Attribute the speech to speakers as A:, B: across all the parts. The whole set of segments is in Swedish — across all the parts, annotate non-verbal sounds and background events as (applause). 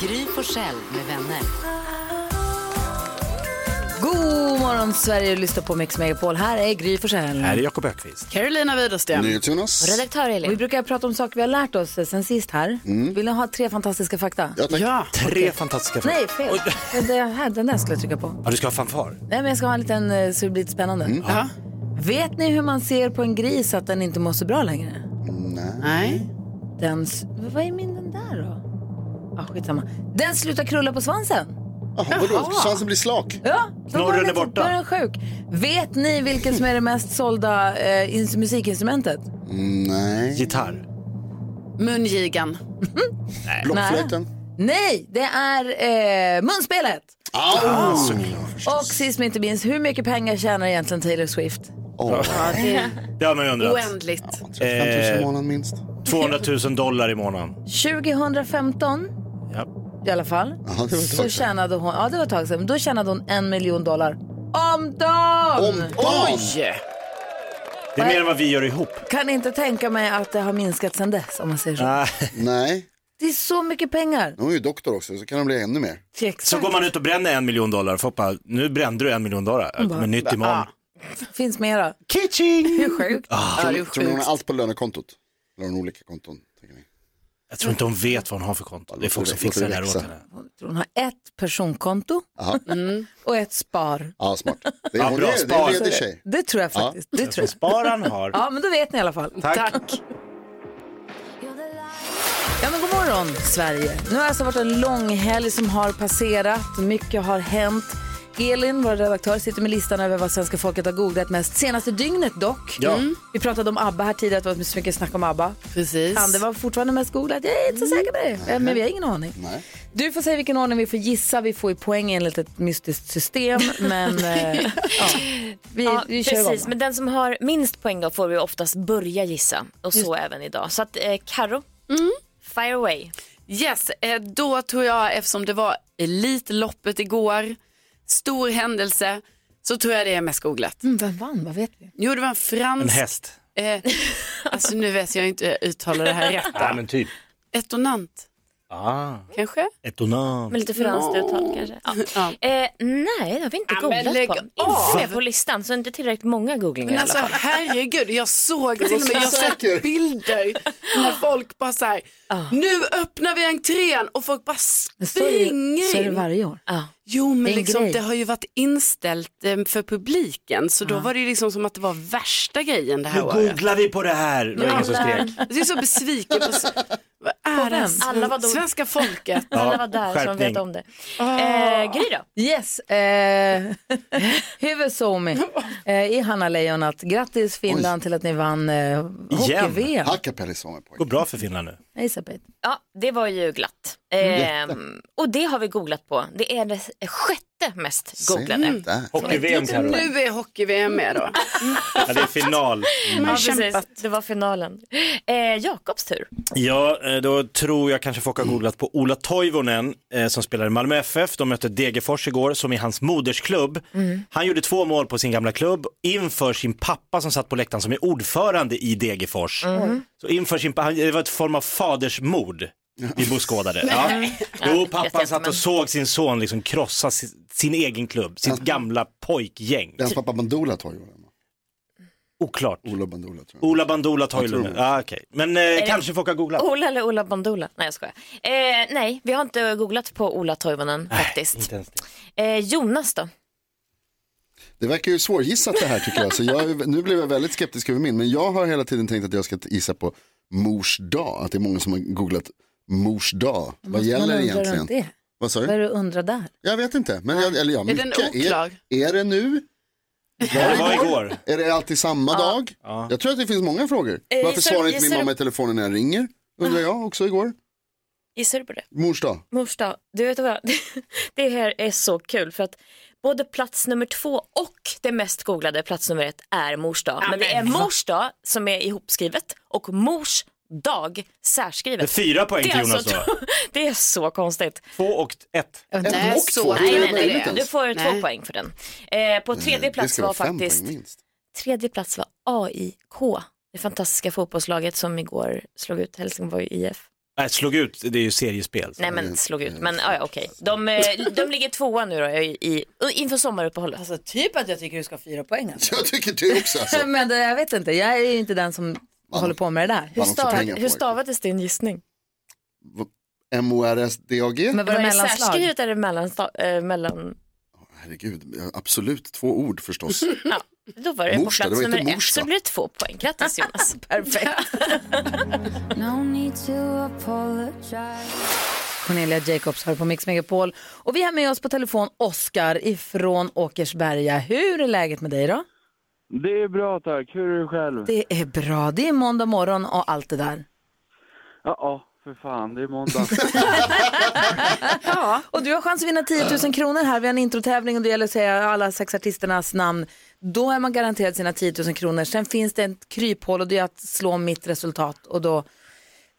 A: Gry Forssell med vänner.
B: God morgon Sverige, lyssna på Mix Megapol. Här är Gry Forssell.
C: Här är Jakob Ökvist.
D: Carolina Widerström.
B: Och Redaktör Elin. Vi brukar prata om saker vi har lärt oss eh, sen sist här. Vill ni ha tre fantastiska fakta?
D: Ja,
C: Mm. Tre fantastiska frågor.
B: Nej, fel. Eh, Det här, den där skulle jag trycka på.
C: Ja, du ska ha fanfar. Mm.
B: Nej, men jag ska ha en liten eh, så det blir lite spännande.
D: Ja.
B: Vet ni hur man ser på en gris att den inte mår så bra längre?
D: Nej.
B: Den... s- Vad är min den där då? Ah, skitsamma. Den slutar krulla på svansen.
E: Jaha, vadå? Svansen blir slak?
B: Ja, då
C: Knorren
B: var
C: är
B: den inte-
C: borta.
B: Då är den sjuk. Vet ni vilket som är det mest sålda eh, ins- musikinstrumentet?
E: Nej.
C: Gitarr.
D: Mungigan.
E: Blockflöjten?
B: Nej, det är eh, munspelet.
E: Au!
B: Och sist men inte minst, hur mycket pengar tjänar egentligen Taylor Swift?
C: Det har man ju undrat.
D: Oändligt.
E: 35
B: Eh.
E: 000 i månaden minst.
C: 200 000 dollar i månaden.
B: 2015
C: Ja.
B: i alla fall,
E: det var ett tag
B: så
E: sedan.
B: tjänade hon, ja det var ett tag sedan, men då tjänade hon en miljon dollar om dagen.
E: Om dagen!
C: Det är mer än vad vi gör ihop.
B: Kan inte tänka mig att det har minskat sedan dess om man säger så.
E: Nej,
B: Det är så mycket pengar.
E: hon är ju doktor också, så kan det bli ännu mer.
B: Exakt.
C: Så går man ut och bränner en miljon dollar. Folk bara, nu brände du en miljon dollar. Men nytt imorgon.
B: Finns mera.
C: Kitching!
B: Hur sjukt?
E: Tror, tror ni hon har allt på lönekontot? Eller har hon olika konton? Tänker ni?
C: Jag tror inte hon vet vad hon har för konto. Det är folk som
E: Låter det-
C: fixar det här åt
E: låter det
C: henne.
B: Jag tror hon har ett personkonto
E: Aha.
B: och ett spar.
E: Ja, smart. Det
C: Ja,
E: är, hon
C: bra,
E: är, det är
C: spar.
E: en ledig tjej.
B: Det tror jag faktiskt. Det tror jag.
C: Sparan har.
B: Ja, men då vet ni i alla fall.
C: Tack.
B: Ja, men god morgon, Sverige. Nu har det alltså varit en lång helg som har passerat. Mycket har hänt. Elin, vår redaktör, sitter med listan över vad svenska folket har googlat mest senaste dygnet dock. Mm.
C: Ja.
B: Vi pratade om ABBA här tidigare, att det var så mycket snack om ABBA.
D: Precis.
B: Kan det vara fortfarande mest googlat? Jag är inte så säker på det. Eh, Men vi har ingen aning.
E: Nej.
B: Du får säga vilken ordning vi får gissa. Vi får ju poäng enligt ett mystiskt system. Men eh, ja. vi,
F: Ja,
B: vi kör
F: precis.
B: igång.
F: Men den som har minst poäng då får vi oftast börja gissa. Och så även idag. Så att eh, Karo, fire away.
D: Yes, eh, då tog jag, eftersom det var Elitloppet igår, stor händelse, så tror jag det är mest googlat.
B: Mm, vem vann? Vad vet vi?
D: Jo, det var en
C: En
D: fransk...
C: häst.
D: eh,
B: (laughs)
D: alltså nu vet jag inte hur jag uttalar det här rätt.
C: Ja, men typ.
D: Etonant,
C: Ah.
D: kanske?
C: Ett onant.
F: Med lite franskt uttal kanske. Ja.
D: (laughs) Ja.
F: Eh, nej, det har vi inte
D: Ja, men
F: googlat
D: lägg
F: på.
D: av.
F: Inte med på listan, så inte tillräckligt många googlingar
D: Men
F: i alla
D: alltså
F: fall.
D: herregud, jag såg till och med, jag har
E: säker.
D: sett bilder när folk bara så här, nu öppnar vi entrén och folk bara
B: Men så är det, så är
D: springer
B: det
D: in.
B: varje år.
D: Jo
B: Det är
D: men
B: en
D: liksom,
B: grej.
D: det har ju varit inställt eh, för publiken så då var det ju liksom som att det var värsta grejen
C: Nu
D: det här året.
C: googlar vi på det här. Det var ingen som skrek.
D: Jag är så besviken på, s- vad är det?
B: vem?
F: Alla var då-
D: svenska folket.
F: Alla var där som
C: skärpning.
F: vet om det. Eh, Gry då?
B: Yes, eh, (laughs) huvudsomi eh, i Hanna Lejonat. Grattis Finland till att ni vann eh, hockey-VM.
E: Hackapelli sa med
C: går
E: poäng.
C: bra för Finland nu.
B: Hej, Sabit.
F: Ja, det var ju glatt.
B: Mm.
F: Eh, och det har vi googlat på. Det är det sjätte mest googlade.
E: Se där.
C: Hockey-VM Carro.
D: Nu är hockey-VM med då.
C: Ja, det är final.
F: Ja, precis. Det var finalen. Eh, Jakobs tur.
C: Ja, eh, då tror jag kanske folk har googlat på Ola Toivonen eh, som spelar i Malmö FF. De mötte Degerfors igår som är hans modersklubb. Han gjorde två mål på sin gamla klubb inför sin pappa som satt på läktaren som är ordförande i Degerfors. Så inför sin pa- han- det var ett form av fadersmord vi boskådade. Ja. Jo,
F: vet
C: pappan
F: jag
C: satt
F: inte,
C: och
F: men-
C: såg sin son liksom krossa sin, sin egen klubb, sitt gamla pojkgäng.
E: Det är hans pappa Bandula tar ju den.
C: Oklart.
E: Ola Bandula tror jag.
C: Ola Bandoola Toivonen.
E: Jag tror-
C: Ja, okej. Men eh, kanske folk har googlat.
F: Ola eller Ola Bandula? Nej jag skojar. Eh, nej, vi har inte googlat på Ola Toivonen faktiskt.
C: Inte ens det.
F: Eh, Jonas då?
E: Det verkar ju svårgissat det här tycker jag. Så jag. Nu blev jag väldigt skeptisk över min. Men jag har hela tiden tänkt att jag ska gissa på mors dag. Att det är många som har googlat mors dag. Vad gäller
B: undrar runt
E: egentligen?
B: det?
E: Vad sa
B: Vad är
E: du?
B: det du undrar där?
E: Jag vet inte. Men jag, eller ja,
D: Är den
E: mycket.
D: oklar?
E: Är, är det nu?
C: Det var igår.
E: Är det alltid samma dag? Jag
F: Eh,
E: tror att det finns många frågor. Varför
F: gissar-
E: svarar inte min
F: gissar du-
E: mamma i telefonen när jag ringer? Undrar jag också igår.
F: Gissar du på det?
E: Mors dag.
F: Mors dag. Du vet vad, (laughs) det här är så kul för att både plats nummer två och det mest googlade plats nummer ett är mors dag. Men det är mors dag som är ihopskrivet och mors dag särskrivet.
C: Det är fyra poäng
F: Det
C: till
F: är,
C: Jonas
F: alltså,
C: då.
F: det är så konstigt.
C: Två och ett.
D: Nej,
E: och två.
D: så
E: Nej,
F: Nej,
E: det
F: nej,
E: är
F: nej,
E: möjligt ens.
F: Du får två
D: Nej.
F: poäng för den. Eh, på tredje
E: Det
F: plats
E: ska
F: var
E: vara fem
F: faktiskt
E: poäng minst.
F: tredje plats var AIK. Det fantastiska fotbollslaget som igår slog ut Helsingborg IF.
C: Nej, Äh, slog ut, det är ju seriespel.
F: Nej
E: Mm.
F: men slog ut, men ja, ja, okej. De, eh, de ligger tvåa nu då i, i, inför sommaruppehållet.
G: Alltså typ att jag tycker du ska ha fyra poäng. Alltså.
E: Jag tycker det också alltså.
F: (laughs)
B: Eh, Men det, jag vet inte, jag är ju inte den som håller på med det där.
E: Vann också
F: Stav,
E: pengar på
F: hur
E: det.
F: stavades din gissning?
E: M-O-R-S-D-A-G?
B: Men var det mellanslag?
F: särskrivet eller mellanslag? Eh, mellan...
E: Herregud, absolut två ord förstås.
F: ja. Då var det
E: Morsta,
F: på
E: det
F: plats
E: var inte
F: nummer ett,
E: morsta.
F: så blir det två poäng. Grattis (laughs) Jonas. Perfekt.
B: (laughs) Cornelia Jacobs hör på Mix Megapol. Och vi har med oss på telefon Oskar ifrån Åkersberga. Hur är läget med dig då?
H: Det är bra tack. Hur är du själv?
B: Det är bra, det är måndag morgon och allt det där.
H: Ja, ja, för fan, det är måndag.
B: Och du har chans att vinna 10 000 kronor här. Vi har en introtävling och det gäller att säga alla sex artisternas namn. Då är man garanterad sina 10 000 kronor. Sen finns det ett kryphål och det är att slå mitt resultat och då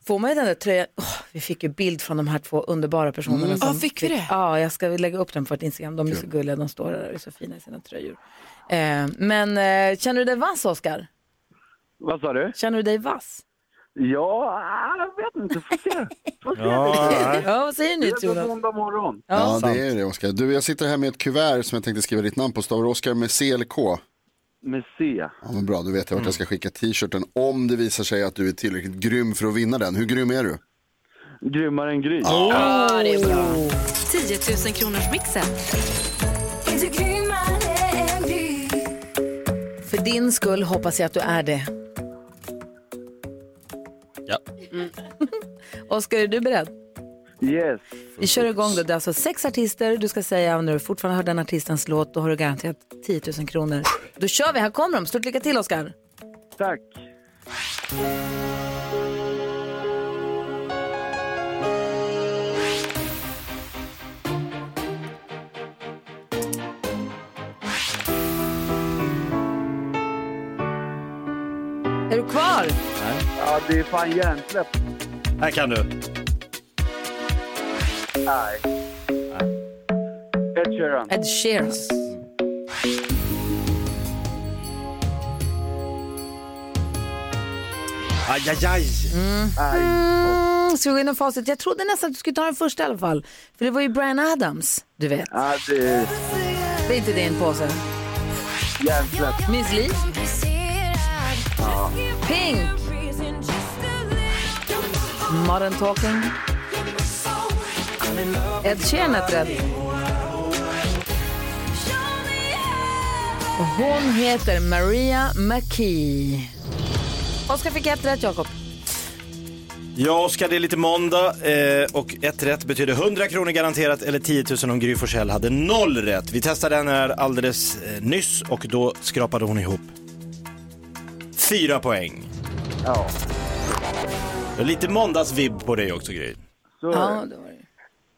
B: får man ju den där tröjan. Åh, vi fick ju bild från de här två underbara personerna. som
D: Mm. Ja, fick vi det?
B: Ja, jag ska lägga upp den på vårt Instagram. De är så gulliga, de står där och är så fina i sina tröjor. Eh, men eh, känner du dig vass, Oskar?
H: Vad sa du?
B: Känner du dig vass?
H: Ja, ah, jag vet inte. Får se. Får se.
B: Ja, vad säger ni,
H: det är
B: Jonas?
H: måndag morgon.
E: Ja, det är det Oskar. Du, jag sitter här med ett kuvert som jag tänkte skriva ditt namn på. Stavar Oskar med C eller K?
H: Med C.
E: Ja, men bra, då vet jag vart jag ska skicka t-shirten om det visar sig att du är tillräckligt grym för att vinna den. Hur grym är du?
H: Grymmare än Gry.
A: 10 000 kronors mixen.
B: För din skull hoppas jag att du är det.
C: Ja.
B: Mm. (laughs) Oskar, är du beredd?
H: Yes.
B: Vi kör igång då. Det är alltså sex artister. Du ska säga när du fortfarande hör den artistens låt. Då har du garanterat 10 000 kronor. Då kör vi. Här kommer de. Stort lycka till, Oskar.
H: Tack.
B: Är du kvar?
H: Ja, det är fan hjärnsläpp.
C: Här kan du.
H: Ed Sheeran.
B: Ed Sheeran.
C: Aj, aj, aj.
B: Mm, ska vi gå igenom facit? Jag trodde nästan att du skulle ta den första i alla fall. För det var ju Brian Adams, du vet.
H: Ja, det är
B: Det är inte din påse.
H: hjärnsläpp.
B: Miss Li. Pink. Modern Talking. Ed Sheeran är ett rätt. Och hon heter Maria McKee. Oskar fick ett rätt, Jakob.
C: Ja, Oskar, det är lite måndag eh, och ett rätt betyder 100 kronor garanterat eller 10 000 om Gry Forssell hade noll rätt. Vi testade den här alldeles eh, nyss och då skrapade hon ihop fyra poäng.
H: Ja,
C: Det är Lite måndagsvibb på dig också, Gry.
H: så är
B: Ja,
H: det.
B: det var det.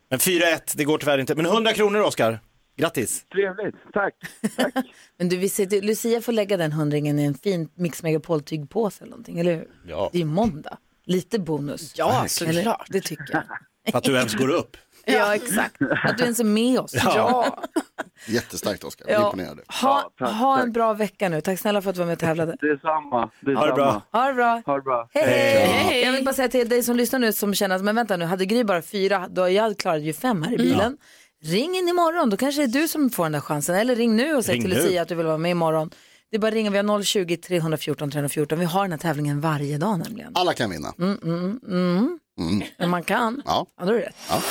C: Men 4-1, det går tyvärr inte. Men 100 kronor, Oskar. Grattis!
H: Trevligt. Tack. Tack.
B: Men du, vi ser, till- Lucia får lägga den hundringen i en fin Mix Megapol-tygpåse eller någonting, eller hur?
C: Ja.
B: Det är ju måndag. Lite bonus.
D: Ja, såklart.
B: Det tycker jag.
C: För att du ens går upp.
B: Ja, exakt. Att du ens är med oss.
C: Ja.
E: Jättestarkt Oskar,
B: Ja.
E: imponerande.
B: Ha,
H: Ja, tack,
B: ha en
H: tack.
B: bra vecka nu. Tack snälla för att du var med och tävlade.
H: Detsamma. Detsamma.
C: Ha det bra.
B: Ha det bra.
H: Ha det bra.
B: Hej, hej. Jag vill bara säga till dig som lyssnar nu som känner att men vänta nu, hade Gry bara fyra, då jag klarade ju fem
E: Mm.
B: här i bilen. Ring in imorgon, då kanske det är du som får den där chansen. Eller ring nu och säg
C: Ring
B: till
C: nu.
B: Lucia att du vill vara med imorgon. Det är bara att ringa, vi har 020 314 314. Vi har den här tävlingen varje dag nämligen.
E: Alla kan vinna.
B: Men man kan.
E: Ja.
B: Ja, då är det rätt.
E: Ja.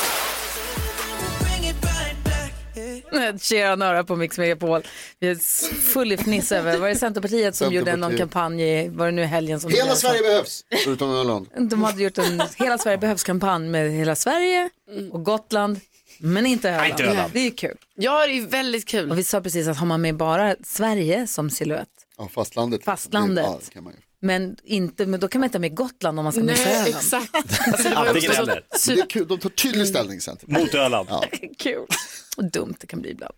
B: Ed Sheeran öra på Mix Megapol. Vi är full i fniss över, var det Centerpartiet som gjorde någon
E: Centerpartiet.
B: kampanj, var det nu i helgen som
E: Hela Sverige behövs, förutom Öland.
B: De hade gjort en Hela Sverige behövs-kampanj med hela Sverige och Gotland, men inte Öland.
C: inte Öland.
B: Det är ju kul.
D: Ja, det är ju väldigt kul.
B: Och vi sa precis att har man med bara Sverige som silhuett,
E: Ja, fastlandet.
B: Fastlandet.
E: Ja, det kan man ju.
B: Men, inte, men då kan man inte ha med Gotland om man ska med
E: Nej,
B: till Öland.
E: exakt.
B: Alltså, det var ju
E: Antingen
B: också så-
E: eller. Men det är kul, de tar tydlig ställning sen.
C: Mot Öland.
E: Ja.
B: Kul. Och dumt det kan bli ibland.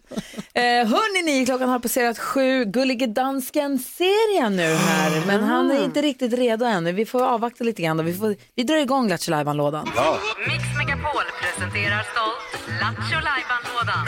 B: Eh, hörni ni, klockan har passerat sju. Gullige dansken ser jag nu här, men han
C: Ah.
B: är inte riktigt redo ännu. Vi får avvakta lite grann. Då. Vi, får, vi drar igång Lattjo Lajban-lådan.
A: Mix Megapol presenterar stolt Lattjo Lajban-lådan.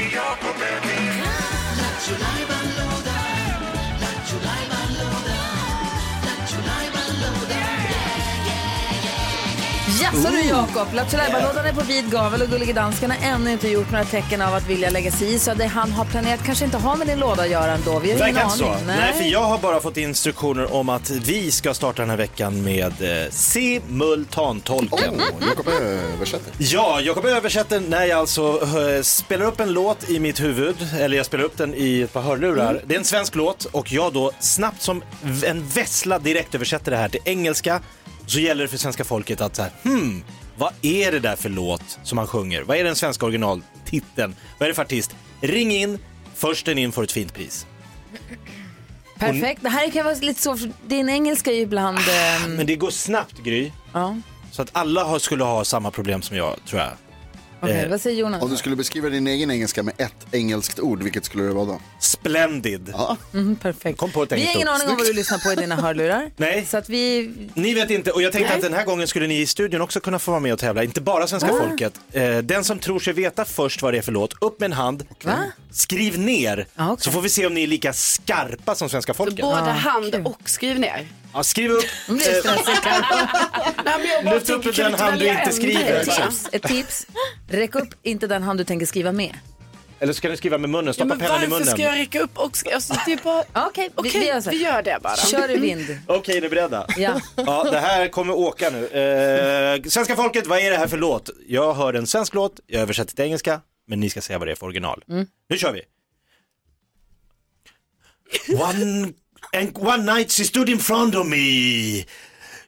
B: Jaså du Jakob, Lattjo Lajban-lådan är på vid gavel och Gullige dansken har ännu inte gjort några tecken av att vilja lägga sig i. Så det han har planerat kanske inte har med din låda att göra ändå. Vi har ingen
C: Verkar inte
B: aning.
C: så. Nej, för jag har bara fått instruktioner om att vi ska starta den här veckan med eh, simultantolken.
E: Jakob översätter.
C: Ja, Jakob översätter när jag alltså eh, spelar upp en låt i mitt huvud, eller jag spelar upp den i ett par hörlurar. Det är en svensk låt och jag då snabbt som v- en vessla direkt översätter det här till engelska. Så gäller det för svenska folket att så här, hmm, vad är det där för låt som han sjunger? Vad är den svenska originaltiteln? Vad är det för artist? Ring in, först den in får ett fint pris.
B: Perfekt, det här kan vara lite svårt. för Din engelska är ju ibland...
C: Ah,
B: ehm,
C: Men det går snabbt Gry.
B: Ja.
C: Så att alla har, skulle ha samma problem som jag tror jag.
B: Okej,
C: Eh,
B: vad säger Jonas?
E: Om du skulle beskriva din egen engelska med ett engelskt ord, vilket skulle det vara då?
C: Splendid.
E: Ja.
B: Mhm, perfekt.
C: Kom på ett
B: Vi
C: enkelt
B: har ingen
C: ord.
B: aning om vad du lyssnar på i dina hörlurar.
C: (laughs) Nej.
B: Så att vi...
C: Ni vet inte, och jag tänkte
B: Nej.
C: att den här gången skulle ni i studion också kunna få vara med och tävla, inte bara svenska
B: Va?
C: folket. Eh, den som tror sig veta först vad det är för låt, upp med en hand,
B: Va?
C: skriv ner, så får vi se om ni är lika skarpa som svenska folket.
D: Både hand och skriv ner.
C: Ja, skriv upp.
D: Nu blir jag stressad. Nej, men jag bara
C: Lyft upp
D: tänker, kan
C: den
D: vi inte
C: hand du
D: välja
C: inte
D: en?
C: skriver.
B: Ett tips, ett tips. Räck upp inte den hand du tänker skriva med.
C: Eller så kan ni skriva med munnen,
D: Ja,
C: stoppa
D: men
C: pennan i
D: varför
C: munnen.
D: ska jag räcka upp och skriva? Alltså, det är bara...
B: Okej, (laughs) vi, vi gör så här.
D: det bara.
B: Kör i vind.
C: Okej, är ni beredda?
B: Ja.
C: Ja, det här kommer åka nu. Eh, svenska folket, vad är det här för låt? Jag hör en svensk låt, jag översätter till engelska, men ni ska säga vad det är för original. Nu kör vi! One, and one night she stood in front of me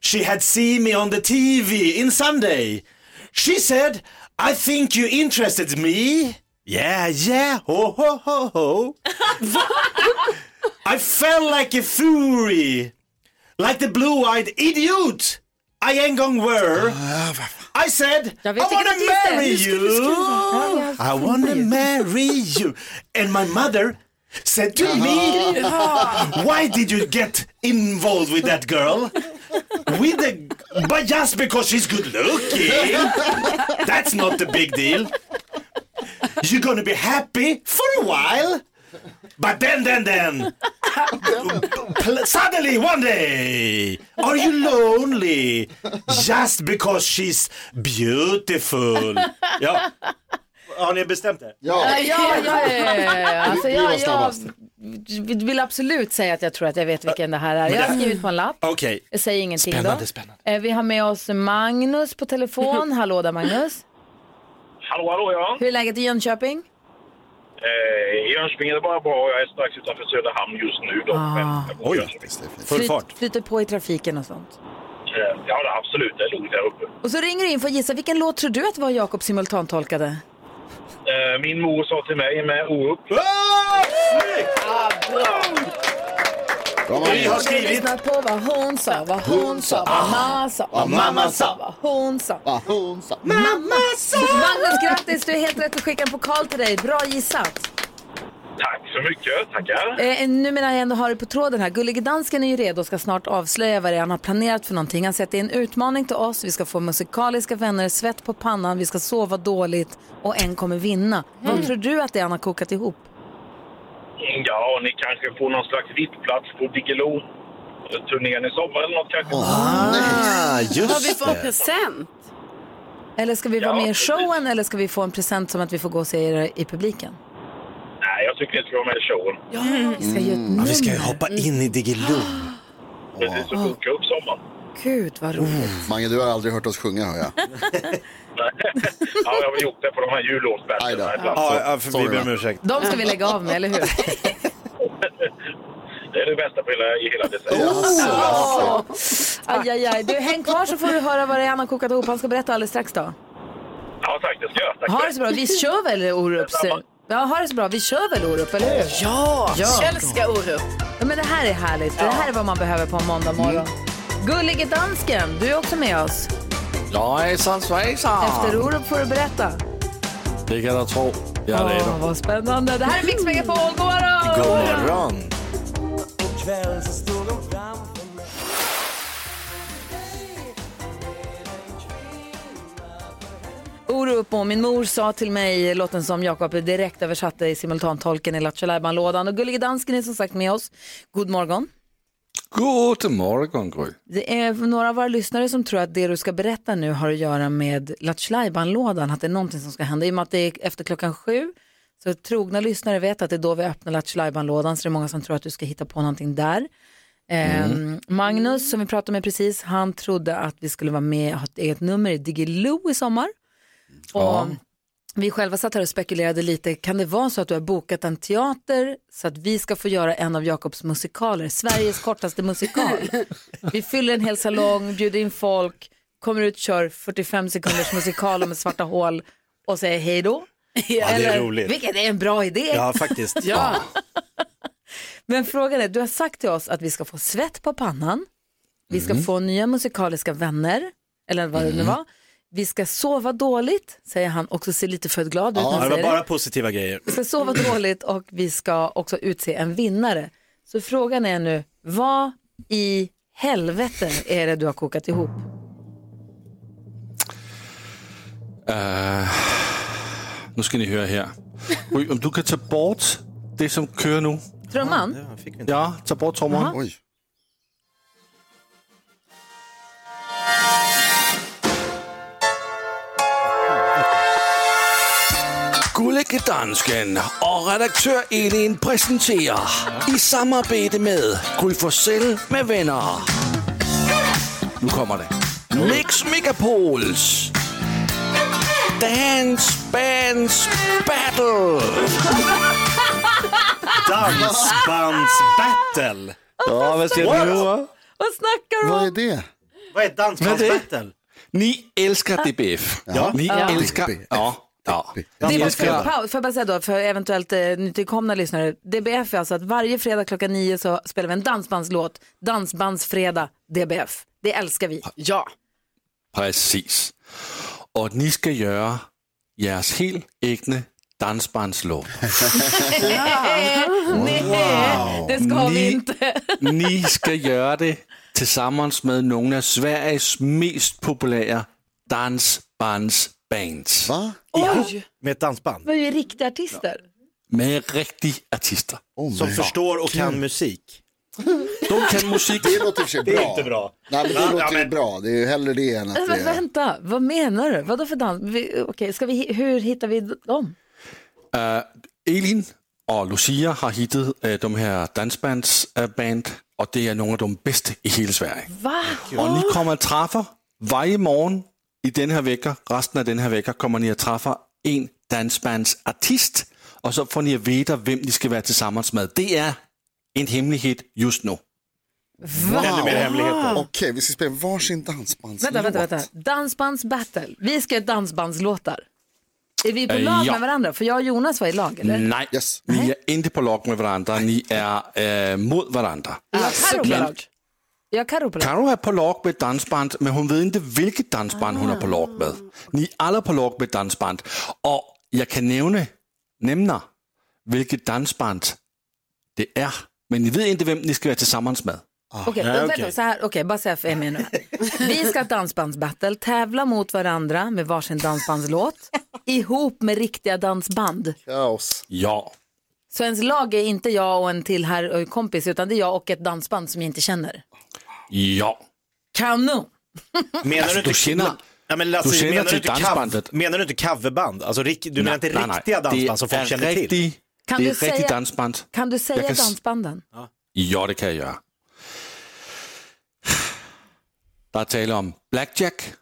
C: She had seen me on the TV in Sunday She said, I think you interested me Yeah, yeah, ho, ho, ho, ho I felt like a fury like the blue-eyed idiot I en gång were. I said, I
B: vet
C: wanna
B: vilken artist det är.
C: marry
B: Nu ska vi
C: you.
B: skriva.
C: I wanna marry you. And my mother said to me, why did you get involved with that girl? With the, but just because she's good looking. That's not the big deal. You're gonna be happy for a while. But then, then, then, pl- suddenly one day, are you lonely just because she's beautiful? Ja. Har ni bestämt er?
E: Ja.
B: Ja, ja, ja, ja, ja. Alltså,
E: (laughs) Det var
B: jag, jag
E: snabbast.
B: vill absolut säga att jag tror att jag vet vilken det här är. Jag har skrivit på en lapp.
C: Okej.
B: Jag säger ingenting
C: Spännande,
B: då.
C: spännande.
B: Eh, Vi har med oss Magnus på
E: (laughs)
B: telefon. Hallå där Magnus.
I: Hallå, hallå ja.
B: Hur är läget i Jönköping?
I: Eh, I Jönköping är det bara bra. Jag är strax utanför Söderhamn just nu. Då.
B: Ah.
C: Oj,
B: Flyt- Flyter på i trafiken och sånt.
I: Eh, Ja, det är absolut. Det är lugnt här uppe.
B: Och så ringer du in för att gissa, vilken låt tror du att det var Jakob simultantolkade?
I: Eh, Min mor sa till mig med O upp.
C: Ah,
B: Vi lyssnat på vad hon sa, vad hon sa, vad mamma sa,
E: Ah. Vad mamma sa.
B: vad hon sa.
E: Vad hon sa. Mm.
B: Mamma sa! Magnus, grattis! Du är helt rätt. Vi skickar en pokal till dig. Bra gissat!
I: Tack så mycket. Tackar.
B: Eh, nu menar jag ändå har du på tråden här. Gullige dansken är ju redo och ska snart avslöja vad det är han har planerat för någonting. Han säger att det är en utmaning till oss. Vi ska få musikaliska vänner, svett på pannan, vi ska sova dåligt och en kommer vinna.
I: Mm.
B: Vad tror du att det är han har kokat ihop?
I: Ja, ni kanske får någon slags VIP-plats på Diggiloo-turnén i sommar eller något kanske.
C: Ah,
D: Vad vi får present.
B: Eller ska vi vara med i showen eller ska vi få en present som att vi får gå och se er i publiken?
I: Nej, jag tycker ni ska vara med i showen.
B: Ja, vi ska göra ett
C: Ja,
I: Mm.
B: nummer.
C: vi ska ju hoppa in i Diggiloo.
B: Ah.
I: Precis, så boka upp sommaren.
B: Gud, vad roligt.
E: Mange, du har aldrig hört oss sjunga hör jag.
I: Ja, jag har gjort det på de här
E: Aj då.
I: jullovsbältena ibland.
C: Ja,
I: så
C: ja, för vi
E: Sorry,
C: ber om
E: va?
C: ursäkt.
B: De ska vi lägga av med, eller hur?
I: (laughs) Det är det bästa på hela, i hela december.
B: Aj, aj, aj. Du, häng kvar så får du höra vad det är han har kokat ihop. Han ska berätta alldeles strax då.
I: Ja, tack. Det ska jag. Tack.
B: Ha det så bra. Vi kör väl Orup? så- Ja, ha det så bra. Vi kör väl Orup, eller hur?
D: Ja,
B: Ja.
D: älskar Orup.
B: Ja, men det här är härligt. Det här är vad man behöver på en måndag morgon. Gullige dansken, du är också med oss.
J: Ja, hejsan svejsan!
B: Efter Orup får du berätta.
J: Det kan jag tro. Jag är redo.
B: Vad spännande. Det här är Mix Megapol. God
J: God
B: morgon!
J: morgon!
B: Orup och min mor sa till mig låten som Jakob direkt översatte i simultantolken i Lattjo lådan Och Gullige dansken är som sagt med oss. God morgon.
K: God morgon Gry.
B: Det är några av våra lyssnare som tror att det du ska berätta nu har att göra med Lattjo lådan att det är någonting som ska hända. I och med att det är efter klockan sju, så trogna lyssnare vet att det är då vi öppnar Lattjo lådan så det är många som tror att du ska hitta på någonting där.
C: Mm.
B: Ehm, Magnus, som vi pratade med precis, han trodde att vi skulle vara med och ha ett eget nummer i Diggiloo i sommar. Och
K: Ja.
B: Vi själva satt här och spekulerade lite, kan det vara så att du har bokat en teater så att vi ska få göra en av Jakobs musikaler, Sveriges kortaste musikal? Vi fyller en hel salong, bjuder in folk, kommer ut, kör 45 sekunders musikal med svarta hål och säger hej då.
C: Ja, det är roligt.
B: Vilket är en bra idé.
C: Ja, faktiskt.
B: ja. Men frågan är, du har sagt till oss att vi ska få svett på pannan, vi ska
K: Mm.
B: få nya musikaliska vänner, eller vad det nu
C: Mm.
B: var. Vi ska sova dåligt, säger han, också ser lite för glad ut när
C: Ja,
B: han
C: det var
B: säger det.
C: bara positiva grejer.
B: Vi ska sova dåligt och vi ska också utse en vinnare. Så frågan är nu, vad i helvete är det du har kokat ihop?
K: Eh, nu skal I høre her. Ry, om du kan tage bort det, som kører nu.
B: Trumman?
K: Ja, tag bort
B: Aha.
K: trommeren.
L: Gullige Dansken og redaktør Elin præsenterer i samarbejde med Gry Forssell med venner. Nu kommer det. Mix Megapols Dance Bands Battle.
C: Ah. Dansbandsbattle!
J: Ja, vad ser du nu? va?
B: Vad snackar du om? Vad
E: är det?
C: Vad är ett dansbandsbattle?
K: Ni elsker DBF.
C: Ja.
K: Ni
B: Ja.
K: elsker... Ja, ja.
B: Det
K: Ni
B: är
K: elsker-
B: för, paus, får jag bara säga då, för eventuellt eh, nytillkomna lyssnare. DBF är alltså att varje fredag klockan nio så spelar vi en dansbandslåt. Dansbandsfredag, DBF. Det älskar vi. Ja.
K: Præcis. Og ni skal gøre jeres helt ægne dansbandslån.
B: Nej, det ska vi
K: Ni-
B: inte.
K: (laughs) ni skal gøre det tillsammans med nogle af Sveriges mest populære dansbandsbands.
E: Hvad?
B: Oj,
C: Med ett dansband?
B: vi är ju riktiga artister.
K: Med rigtige artister.
C: Som förstår och kan musik.
K: De kan musik.
E: Det låter i och för sig bra.
C: Det är inte bra.
E: Nej, men det
C: Ja,
E: låter
C: ja,
E: ju bra. Det är ju hellre det än att
B: Men
E: det
B: vä-
E: är...
B: vänta, vad menar du? Vadå för dans? Vi, okej, ska vi, hi- hur hittar vi dem?
K: Øh, Elin og Lucia har hittet øh, de her dansbandsband, og det er nogle af de bedste i hele Sverige.
B: Va?
K: Og ni kommer at træffe hver morgen i den her vækker, resten af den her vækker, kommer ni at træffe en dansbandsartist, og så får ni at vide, hvem de skal være til sammen med. Det er en hemmelighed just nu. Ännu mer hemligheter.
E: Ah, Okej, vi ska spela varsin dansbandslåt.
B: Vänta, vänta, vänta. Dansbandsbattle. Vi ska göra dansbandslåtar. Är vi på
K: Eh,
B: lag
K: ja. Mm.
B: med varandra? För jag och Jonas var i lag, eller?
K: Nej, ni er ikke på lag med hverandre, ni er øh, mod hverandre.
B: Karo på
K: Men-
B: lag. Jag Karo på lag.
K: Karo er på lag med dansband, men hun ved ikke, hvilket dansband hun er
C: Ah.
K: på lag med. Ni er alle på lag med dansband. Og jeg kan nævne, nemner, hvilket dansband det er. Men ni ved ikke, hvem ni skal være til sammen med.
B: Okej, vänta, så här, okej, bara säga för
K: (laughs)
B: Emmy nu. här. Vi ska ha ett dansbandsbattle, tävla mot varandra med varsin dansbandslåt, ihop med riktiga dansband.
E: Kaos.
K: Ja.
B: Så ens lag är inte jag och en till här och en kompis, utan det är jag och ett dansband som jag inte känner.
K: Ja.
B: Kanon!
C: Menar du inte...
K: känner-
C: Ja, men Lasse,
K: du känner
C: menar, du
K: till
C: inte cover,
K: typ dansbandet.
C: menar du inte coverband? Alltså, rik, du menar inte
K: Nej, nej,
C: riktiga dansband
K: det
C: som folk
K: er
C: känner till?
K: rigtig-
B: Kan
K: det
B: du
K: er rigtig
B: säga-
K: dansband.
B: Kan du säga
K: Jeg kan s-
B: dansbanden?
K: Ja, det kan jeg gøre. Der er tale om blackjack.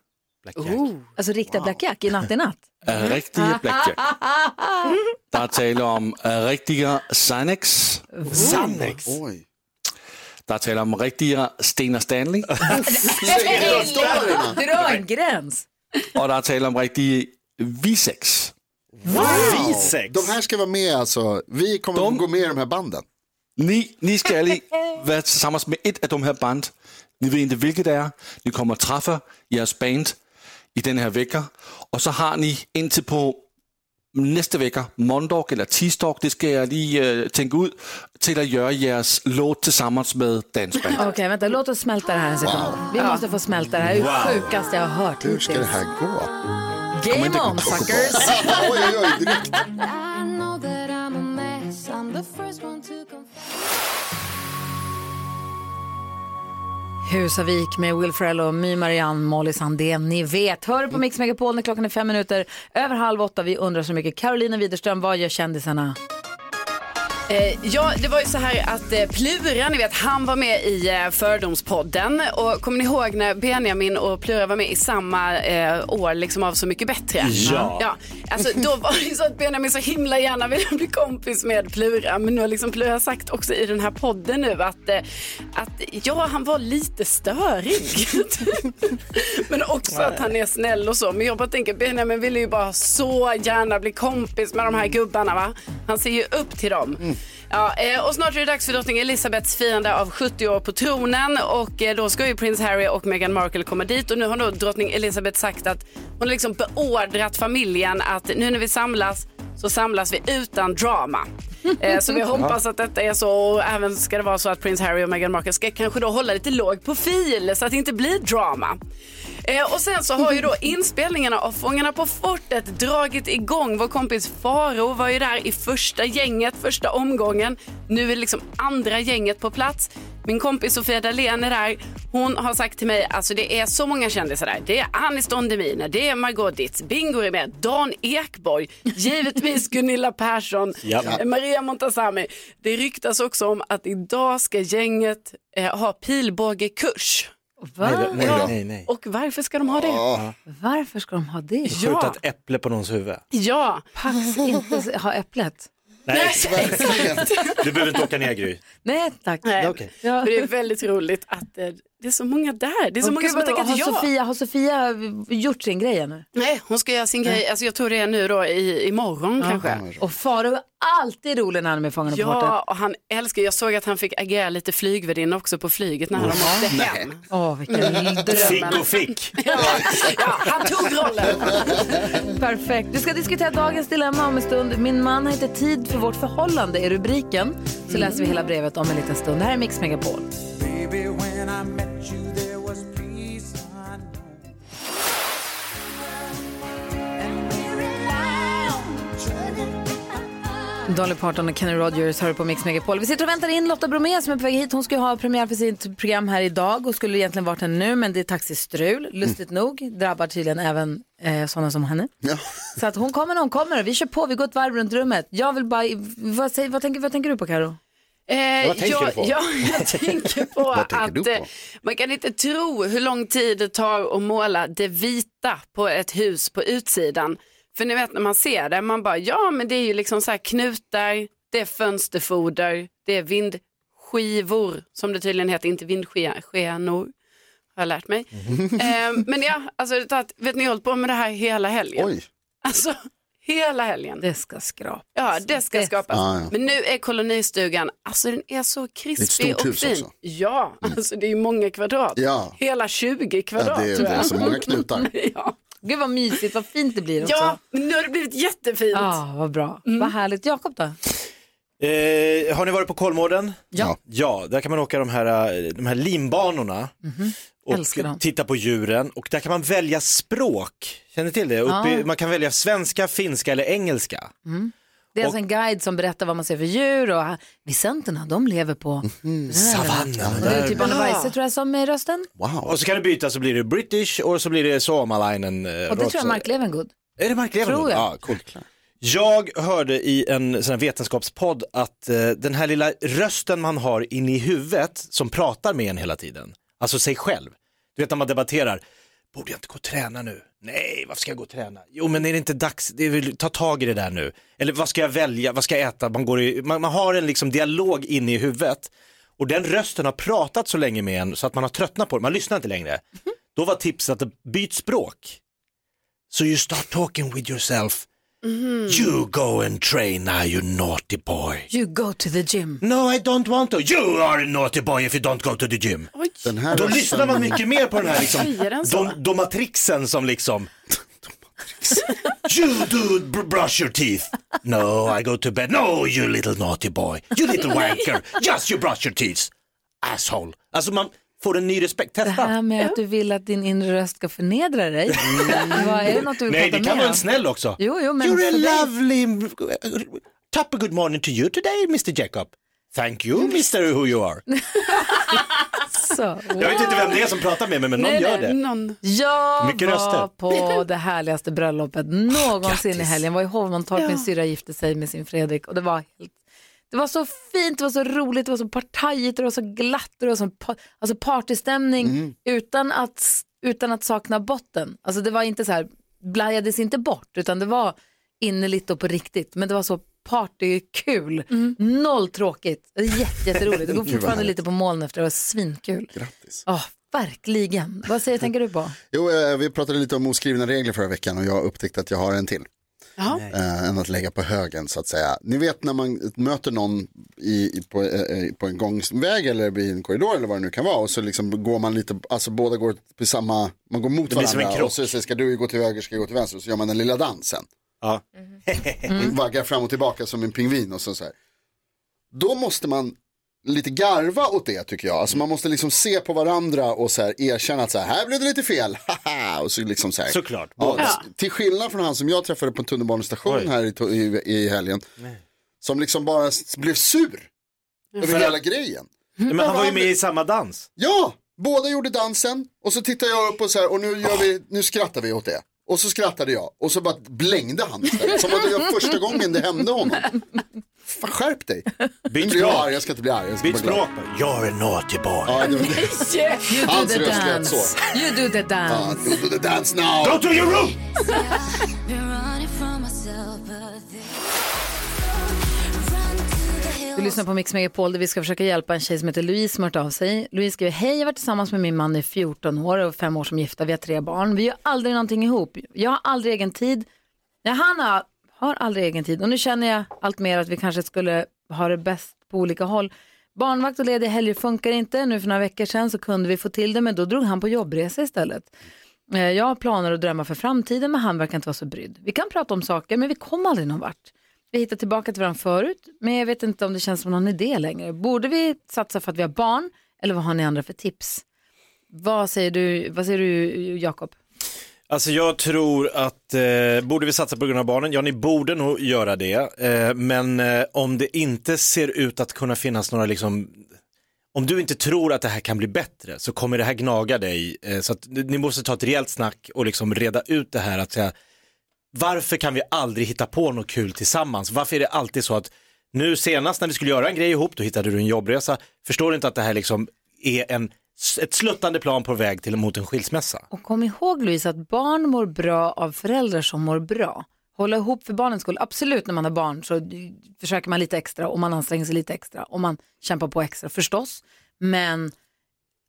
B: Oh. Alltså riktiga blackjack i natt
K: (laughs)
B: i natt?
K: Er rigtige blackjack. Der er tale om øh, rigtige Xanax.
C: Xanax.
E: Oj.
K: Der er tale om rigtige Sten og Stanley.
B: Dra en gräns!
K: og der er tale om rigtige Visex.
E: De här ska vara med alltså. Vi kommer att gå med i de här banden. (laughs)
K: Ni, ni skal alle være sammen med et af de her band. Ni ved ikke, hvilket det er. Ni kommer og træffer jeres band i den her vækker. Og så har ni indtil på næste vækker, Mondog eller Tisdag, det skal jeg lige øh, tænke ud, til at gøre jeres låt tillsammans med dansband.
B: Okej, vänta, låt oss smälta det här en sekund. Vi måste få smälta det här. Det är det
K: Wow.
B: sjukaste jag har hört hittills.
E: gå?
B: Game on, suckers! Husavik med Will Ferrell och My Marianne Molly Sandén. Ni vet, hör på Mix Megapol när klockan är fem minuter över halv åtta. Vi undrar så mycket. Carolina Widerström, vad gör kändisarna?
D: Eh, ja, det var ju så här att eh, Plura, ni vet, han var med i eh, Fördomspodden. Och kommer ni ihåg när Benjamin och Plura var med i samma eh, år liksom av Så mycket bättre?
M: Ja.
D: ja. Alltså, då var det ju så att Benjamin så himla gärna ville bli kompis med Plura. Men nu har liksom Plura sagt också i den här podden nu att, eh, att ja, han var lite störig. men också att han är snäll och så. Men jag bara tänker, Benjamin ville ju bara så gärna bli kompis med de här gubbarna va? Han ser ju upp till dem. Ja, eh, och snart är det dags för drottning Elisabeths firande av 70 år på tronen och eh, då ska ju prins Harry och Meghan Markle komma dit och nu har då drottning Elisabeth sagt att hon har liksom beordrat familjen att nu när vi samlas så samlas vi utan drama. Eh, så vi hoppas att detta är så och även ska det vara så att prins Harry och Meghan Markle ska kanske då hålla lite låg profil så att det inte blir drama. Eh, och sen så har ju då inspelningarna av Fångarna på fortet dragit igång. Vår kompis Faro var ju där i första gänget, första omgången. Nu är det liksom andra gänget på plats. Min kompis Sofia Dalén är där. Hon har sagt till mig, alltså det är så många kändisar där. Det är Anis Don Demina, det är Margot Dietz, Bingo är med, Dan Ekborg,
C: (laughs)
D: givetvis Gunilla Persson,
M: Ja.
D: eh, Maria Montazami. Det ryktas också om att idag ska gänget eh, ha pilbågekurs.
B: Va?
C: Nej, nej, nej, nej.
D: Och varför ska de ha det?
B: Varför ska de ha det?
C: Skjuta ett äpple på någons huvud.
D: Ja.
B: Pax inte ha äpplet.
C: Nej,
E: (laughs)
C: Du behöver inte åka ner Gry.
B: Nej tack.
D: Nej.
C: okej.
D: För det är väldigt roligt att eh, det är så många där. Det är så
B: Åh,
D: många
B: gud,
D: som har
B: vad-
D: tackat ja.
B: har, Sofia, har Sofia gjort sin grej ännu?
D: Nej, hon ska göra sin grej. Alltså, jag tror det är nu då i, imorgon
E: Mm.
D: kanske.
B: Och Faro är alltid rolig när han är med i Fångarna på
D: Ja,
B: fortet.
D: och han älskar, jag såg att han fick agera lite flygvärdinna också på flyget när han
B: Uff,
D: åkte
B: nej.
D: hem.
B: Åh,
D: (laughs)
B: vilken dröm.
C: Fick och fick.
D: Han tog rollen.
B: Perfekt. Vi ska diskutera dagens dilemma om en stund. Min man har inte tid för vårt förhållande är rubriken. Så läser vi hela brevet om en liten stund. Det här är Mix Megapol. Dolly Parton och Kenny Rogers hör på Mix Megapol. Vi sitter och väntar in Lotta Bromé som är på väg hit. Hon ska ju ha premiär för sitt program här idag och skulle egentligen varit här nu men det är taxistrul, lustigt nog. Drabbar tydligen även eh, sådana som henne. Så att hon kommer när hon kommer. Vi kör på, vi går ett varv runt rummet. Jag vill bara, vad, säger, vad, tänker, vad tänker du på Karo?
D: Eh,
B: Vad tänker
D: jag,
B: du på?
D: (laughs) Ja, jag tänker på
B: (laughs) Vad tänker
D: att
B: du på?
D: eh, man kan inte tro hur lång tid det tar att måla det vita på ett hus på utsidan. För ni vet när man ser det, man bara ja men det är ju liksom så här knutar, det är fönsterfoder, det är vindskivor som det tydligen heter, inte vindskenor har jag lärt mig. eh, men ja, alltså, det tar- vet ni jag har hållit på med det här hela helgen. Alltså hela helgen.
B: Det ska skrapas.
D: Ja, det ska skapas.
B: Ah, ja.
D: Men nu är kolonistugan, alltså den är så
E: Det är
D: krispig
E: ett
D: och
E: stort hus
D: fin.
E: också. Mm.
D: Ja, alltså det är ju många kvadrat.
E: Ja.
D: Hela 20 kvadrat
E: Ja, det är-
D: tror jag.
E: det är så många knutar.
D: ja.
B: Gud vad mysigt, vad fint det blir också.
D: Ja, men nu har det blivit jättefint.
B: Ja, vad bra. Vad härligt. Jakob då?
C: Eh, har ni varit på Kolmården?
B: Ja.
C: Ja, där kan man åka de här, eh, de här limbanorna
B: Mhm. Älskar dem.
C: och titta på djuren och där kan man välja språk. Känner ni till det? Uppe, i-
B: Ja.
C: Man kan välja svenska, finska eller engelska.
B: Mm. Det är alltså en guide som berättar vad man ser för djur och visenterna, de lever på
C: Mm. Savannen.
B: Det är typ Anna Weise tror jag som är rösten.
C: Wow. Och så kan du byta så blir det British och så blir det Suomalainen. eh,
B: Och det tror
C: rotsa.
B: jag Mark Levengood.
C: Är det Mark Levengood?
B: Tror jag.
C: Ja, coolt. Jag hörde i en sån här vetenskapspodd att eh, den här lilla rösten man har inne i huvudet som pratar med en hela tiden, alltså sig själv. Du vet när man debatterar, borde jag inte gå och träna nu? Nej, varför ska jag gå och träna? Jo, men är det inte dags? Det är väl, ta tag i det där nu. Eller vad ska jag välja? Vad ska jag äta? Man, går i, man, man har en liksom dialog inne i huvudet och den rösten har pratat så länge med en så att man har tröttnat på det. Man lyssnar inte längre.
B: Mhm.
C: Då var tipset att byt språk. So you start talking with yourself
L: You go and train now, you naughty boy.
B: You go to the gym.
L: No, I don't want to. You are a naughty boy if you don't go to the gym.
E: Den
C: Då lyssnar man mycket mer på den här
L: Säger
C: liksom,
L: den så?
C: dom, domatrixen som liksom,
L: You do br- brush your teeth. No, I go to bed. No, you little naughty boy. You little (laughs) wanker. Just you brush your teeth. Asshole.
C: alltså man får en ny respekt.
B: Det
C: Testa.
B: här med att du vill att din inre röst ska förnedra dig. Vad är det något du vill
C: Mm. Nej,
B: prata
C: det kan
B: mer
C: vara
B: om?
C: en snäll också.
B: Jo, jo, men
L: You're a
B: för dig-
L: lovely... Top a good morning to you today, Mr Jacob.
C: Thank you, Mr Who You
B: (laughs)
C: Are.
B: Så,
C: Jag vet inte vem det är som pratar med mig, men någon
B: Nej,
C: gör
B: nej,
C: det.
D: Någon.
B: Jag
C: Mycket
B: var
C: röster.
B: på det härligaste bröllopet någonsin i helgen. var i Hovmantorp,
D: Ja.
B: min syrra gifte sig med sin Fredrik och det var helt det var så fint, det var så roligt, det var så partajigt, det var så glatt, det var så pa- alltså partystämning utan, att, utan att sakna botten. Alltså det var inte så här, blajades inte bort, utan det var innerligt och på riktigt. Men det var så partykul, noll tråkigt, jätte, jätteroligt. Det går
E: Gud, vad
B: fortfarande
E: härligt.
B: lite på moln efter, det var svinkul. Grattis. verkligen. Vad säger, tänker du på?
E: Jo, eh, vi pratade lite om oskrivna regler förra veckan och jag upptäckte att jag har en till.
B: Ja.
E: Eh, än att lägga på högen så att säga. Ni vet när man möter någon i, i, på, eh, eh, på en gångsväg eller i en korridor eller vad det nu kan vara och så liksom går man lite, alltså båda går på samma, man går mot
C: Det blir som en
E: varandra
C: krock.
E: och så säger ska du gå till höger, ska jag gå till vänster och så gör man den lilla dansen.
C: Ja.
E: Mm. Vaggar fram och tillbaka som en pingvin och så, så här. Då måste man lite garva åt det tycker jag. Alltså man måste liksom se på varandra och så här erkänna att så här, här blev det lite fel. (laughs) Haha! och så liksom så här.
C: Såklart.
E: Ja,
C: Ja.
E: s- Till skillnad från han som jag träffade på en tunnelbanestation här i, to- i, i helgen. Som liksom bara s- blev sur över
C: För-
E: hela grejen.
B: Mm.
C: Nej, men han var ju med
E: blev-
C: i samma dans.
E: Ja, båda gjorde dansen och så tittade jag upp och så här och nu, gör vi, nu skrattar vi åt det. Och så skrattade jag och så bara blängde han istället. Som att det var första gången det hände honom. Fan, skärp dig. Byt språk. Jag, arg, jag ska inte bli arg. Jag ska
L: Byt
E: bara glad.
L: språk. You're a naughty boy.
E: Ja, det var det.
B: You do
E: Hans
B: the
E: röst lät
B: dance.
E: så.
B: You do the
E: Ja,
B: dance.
E: do the dance now.
L: Go to your room!
B: Du lyssnar på Mix Megapol där vi ska försöka hjälpa en tjej som heter Louise som har hört av sig. Louise skriver, hej jag har varit tillsammans med min man i 14 år och fem år som gifta, vi har tre barn. Vi gör aldrig någonting ihop. Jag har aldrig egen tid. Nej, han har, har aldrig egen tid och nu känner jag allt mer att vi kanske skulle ha det bäst på olika håll. Barnvakt och lediga helger funkar inte. Nu för några veckor sedan så kunde vi få till det men då drog han på jobbresa istället. Eh, Jag har planer och drömmar för framtiden men han verkar inte vara så brydd. Vi kan prata om saker men vi kom aldrig någon vart. Vi hittade tillbaka till varandra förut men jag vet inte om det känns som någon idé längre. Borde vi satsa för att vi har barn eller vad har ni andra för tips? Vad säger du, vad säger du Jakob?
C: Alltså jag tror att, eh, borde vi satsa på grund av barnen? Ja, ni borde nog göra det. Eh, men eh, om det inte ser ut att kunna finnas några liksom, om du inte tror att det här kan bli bättre så kommer det här gnaga dig. Eh, så att ni ni måste ta ett rejält snack och liksom reda ut det här att säga, varför kan vi aldrig hitta på något kul tillsammans? Varför är det alltid så att nu senast när vi skulle göra en grej ihop, då hittade du en jobbresa. Förstår du inte att det här liksom är en, ett sluttande plan på väg till, mot en skilsmässa?
B: Och kom ihåg Louise att barn mår bra av föräldrar som mår bra. Hålla ihop för barnens skull. Absolut när man har barn så d- försöker man lite extra och man anstränger sig lite extra och man kämpar på extra förstås. Men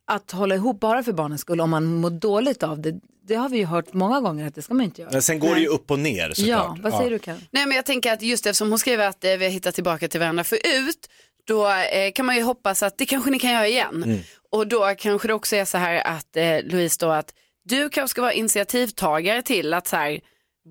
B: att hålla ihop bara för barnens skull om man mår dåligt av det, det har vi ju hört många gånger att det ska man inte göra.
C: Men sen går det ju upp och ner såklart.
B: Ja, vad säger du Karin?
D: Nej men jag tänker att just eftersom hon skrev att eh, vi har hittat tillbaka till varandra förut, då eh, kan man ju hoppas att det kanske ni kan göra igen. Och då kanske det också är så här att eh, Louise då att du kanske ska vara initiativtagare till att så här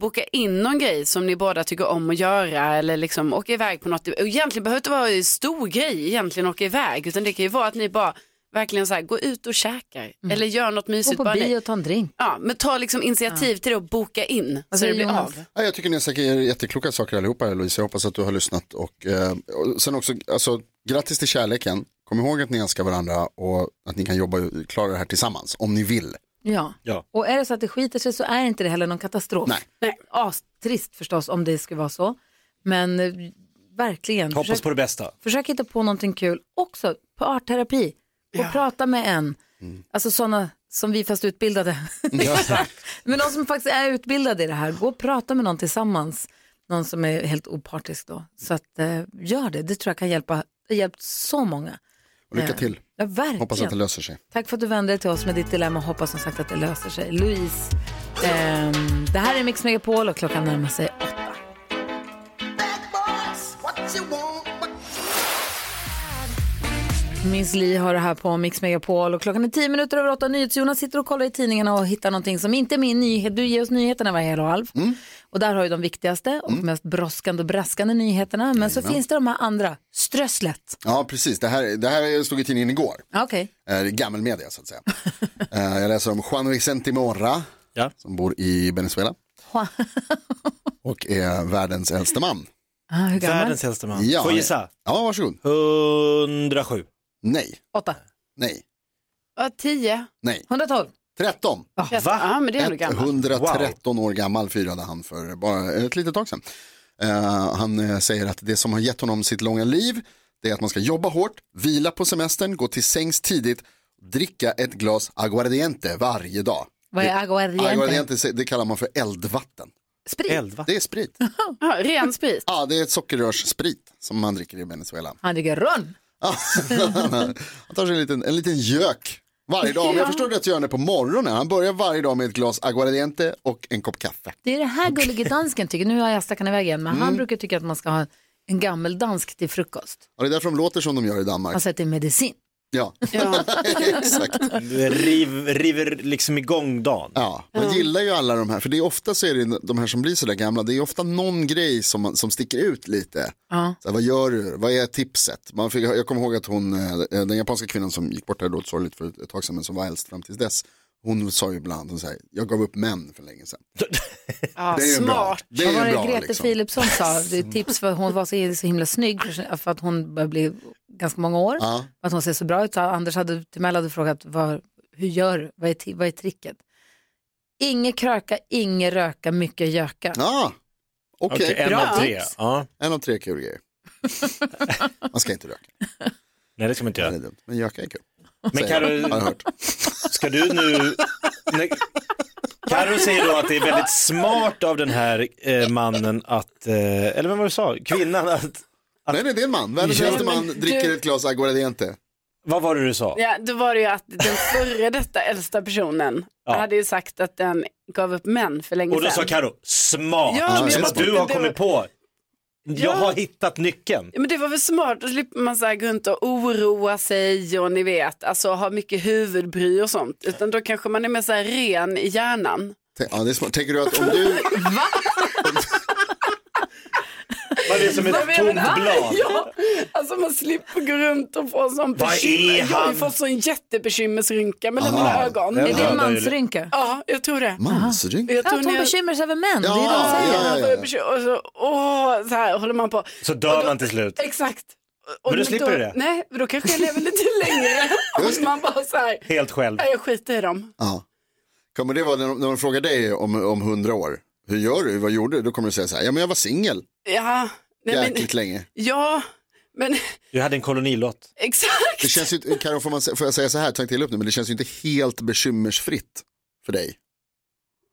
D: boka in någon grej som ni båda tycker om att göra eller liksom åka iväg på något. Och egentligen behöver det inte vara en stor grej egentligen att åka iväg utan det kan ju vara att ni bara verkligen så här går ut och käkar
B: Mm.
D: eller gör något mysigt.
B: Gå på
D: bara ni.
B: bio och ta en drink.
D: Ja, men ta liksom initiativ till det och boka in så det blir av.
E: Ja, jag tycker ni säger jättekloka saker allihopa här, Louise. Jag hoppas att du har lyssnat. Och, eh, och sen också, alltså, grattis till kärleken. Kom ihåg att ni älskar varandra och att ni kan jobba klara det här tillsammans om ni vill.
B: Ja.
C: Ja.
B: Och är det så att det skiter sig så är inte det heller någon katastrof.
D: Nej.
B: Astrist förstås om det skulle vara så. Men eh, verkligen.
C: Hoppas
B: försök-
C: på det bästa.
B: Försök hitta på någonting kul också, på artterapi. Och prata med en. Alltså sådana som vi fast utbildade. Men de som faktiskt är utbildade i det här, gå och prata med någon tillsammans. Någon som är helt opartisk då. Så att, eh, gör det, det tror jag kan hjälpa. Det har hjälpt så många.
E: Och lycka
B: Eh,
E: till.
B: Ja, verkligen.
E: Hoppas att det löser sig.
B: Tack för att du vände dig till oss med ditt dilemma och hoppas som sagt att det löser sig. Louise, ehm, det här är Mix Megapol och klockan närmar sig åtta. Miss Li har det här på Mix Megapol och klockan är 10 minuter över åtta. NyhetsJonas sitter och kollar i tidningarna och hittar någonting som inte är min nyhet. Du ger oss nyheterna varje hel och halv. Och där har ju de viktigaste och mest brådskande och braskande nyheterna. Men så
E: Jajamän.
B: finns det de här andra, strösslet.
E: Ja, precis. Det här, det här stod i tidningen igår.
B: (laughs) Okej.
E: Eh, Gammal media så att
B: (laughs)
E: säga. Eh, Jag läser om Juan Vicente Morra som bor i Venezuela.
B: Juan.
E: Och är världens äldste man.
B: Ah, hur gammal?
C: Världens äldste man. Får jag gissa?
E: Ja, varsågod.
C: 107.
E: Nej.
B: Åtta.
E: Nej.
D: Ja, tio.
E: Nej.
B: 112.
E: 13.
D: Va? Ja, men det är ändå gammalt.
E: 113 år gammal firade han för bara ett litet tag sedan. Eh, han eh, säger att det som har gett honom sitt långa liv det är att man ska jobba hårt, vila på semestern, gå till sängs tidigt, dricka ett glas aguardiente varje dag.
B: Vad är aguardiente?
E: Aguardiente det kallar man för eldvatten.
B: Sprit?
E: Det
D: (laughs)
E: är sprit.
D: Ja, ren sprit.
E: Ja, det är ett sockerrörssprit som man dricker
D: (laughs)
E: i Venezuela.
B: Han dricker rum.
E: han tar sig en liten, en liten gök varje dag. Om jag förstår rätt så gör han det på morgonen. Han börjar varje dag med ett glas aguardiente och en kopp kaffe.
B: Det är det här gullige dansken tycker, nu har jag stackat iväg igen, men
E: Mm.
B: han brukar tycka att man ska ha en gammeldansk till frukost.
E: Och det är därför de låter som de gör i Danmark.
B: Han säger att det är medicin.
E: Ja, (laughs) exakt.
C: Det Riv, river liksom igång dagen.
E: Ja, man gillar ju alla de här. För det är ofta så är det de här som blir så där gamla. Det är ofta någon grej som, man- som sticker ut lite.
B: Ja.
E: Så här, vad gör du? Vad är tipset? Man fick, jag kommer ihåg att hon, eh, den japanska kvinnan som gick bort här då, sorgligt för ett tag sedan, men som var äldst fram tills dess. Hon sa ju ibland, hon säger, jag gav upp män för länge sedan.
D: Ja,
E: Det är ju bra.
D: smart.
E: Det är
B: Vad var
E: ju
B: det
E: bra,
B: Grete
E: liksom.
B: Philipsson
E: (laughs)
B: sa? Det är ett tips för hon var så, så himla snygg för, för att hon börjar bli ganska många år.
E: Ja.
B: För Att hon ser så bra ut. Så Anders hade, Timell hade frågat vad, hur gör du? Vad är, ti- vad är tricket? Inge kröka, inge röka, mycket göka.
E: Ja, okej.
C: Okej, en
B: Bra
C: av tre.
B: tips.
C: Ja.
E: En av tre kul grejer.
B: (laughs)
E: Man ska inte röka.
C: Nej, det ska man inte göra.
E: Men göka är kul.
C: Men
E: Säger
C: Karo-
E: jag. Har jag hört.
C: Ska du nu... Nej. Karo säger då att det är väldigt smart av den här eh, mannen att, eh, eller vem var det du sa, kvinnan att... att...
E: Nej, nej, det är en man. Världens
C: Ja,
E: äldste
C: men
E: man
C: du-
E: dricker ett glas aguardiente.
C: Vad var det du sa?
D: Ja, då var det ju att den före detta äldsta personen
C: Ja.
D: hade ju sagt att den gav upp män för länge
C: Och då sa
D: sedan.
C: Karo, smart,
D: Ja, men
C: som
D: jag
C: att du har
D: tänkte-
C: kommit på. Jag har hittat nyckeln.
D: Ja, Men det var väl smart, då slipper man så här gå runt och oroa sig och ni vet, alltså ha mycket huvudbry och sånt. Utan då kanske man är mer så här ren i hjärnan.
E: T- Ja, det är smart. Tänker du att om du...
B: (laughs)
C: Man är som ett
D: Vad menar
C: tomt
D: du?
C: blad.
D: Ja, alltså man slipper gå runt och få sån
C: Vad är
D: bekymmer. Jag har
C: han?
D: ju fått sån jättebekymmersrynka mellan
E: Aha.
D: mina ögon.
E: Är det en
B: mansrynka?
D: Ja, jag tror det.
E: Mansrynka?
D: Jag
B: Ja,
D: tror
B: att hon
D: ni-
B: bekymrar sig över män. det är det hon
E: Ja,
B: säger.
E: ja, ja.
D: Och så, åh, så här håller man på.
C: Så dör man till slut.
D: Exakt.
C: Men du
D: då-
C: slipper det?
D: Nej, men då kanske jag
C: (laughs)
D: lever lite längre. Om man bara så här,
C: Helt själv.
D: nej, jag skiter i dem.
E: Ja. Kommer det vara när de, när de frågar dig om, om 100 år? Hur gör du? Vad gjorde du? Då kommer du säga så här, ja men jag var singel
D: Ja, nej, men,
E: jäkligt länge.
D: ja, men (laughs)
C: Du hade en kolonilott.
D: exakt.
E: Det känns ju, inte- Karo, får, man, sä- får jag säga så här, tänk till upp nu, men det känns ju inte helt bekymmersfritt för dig.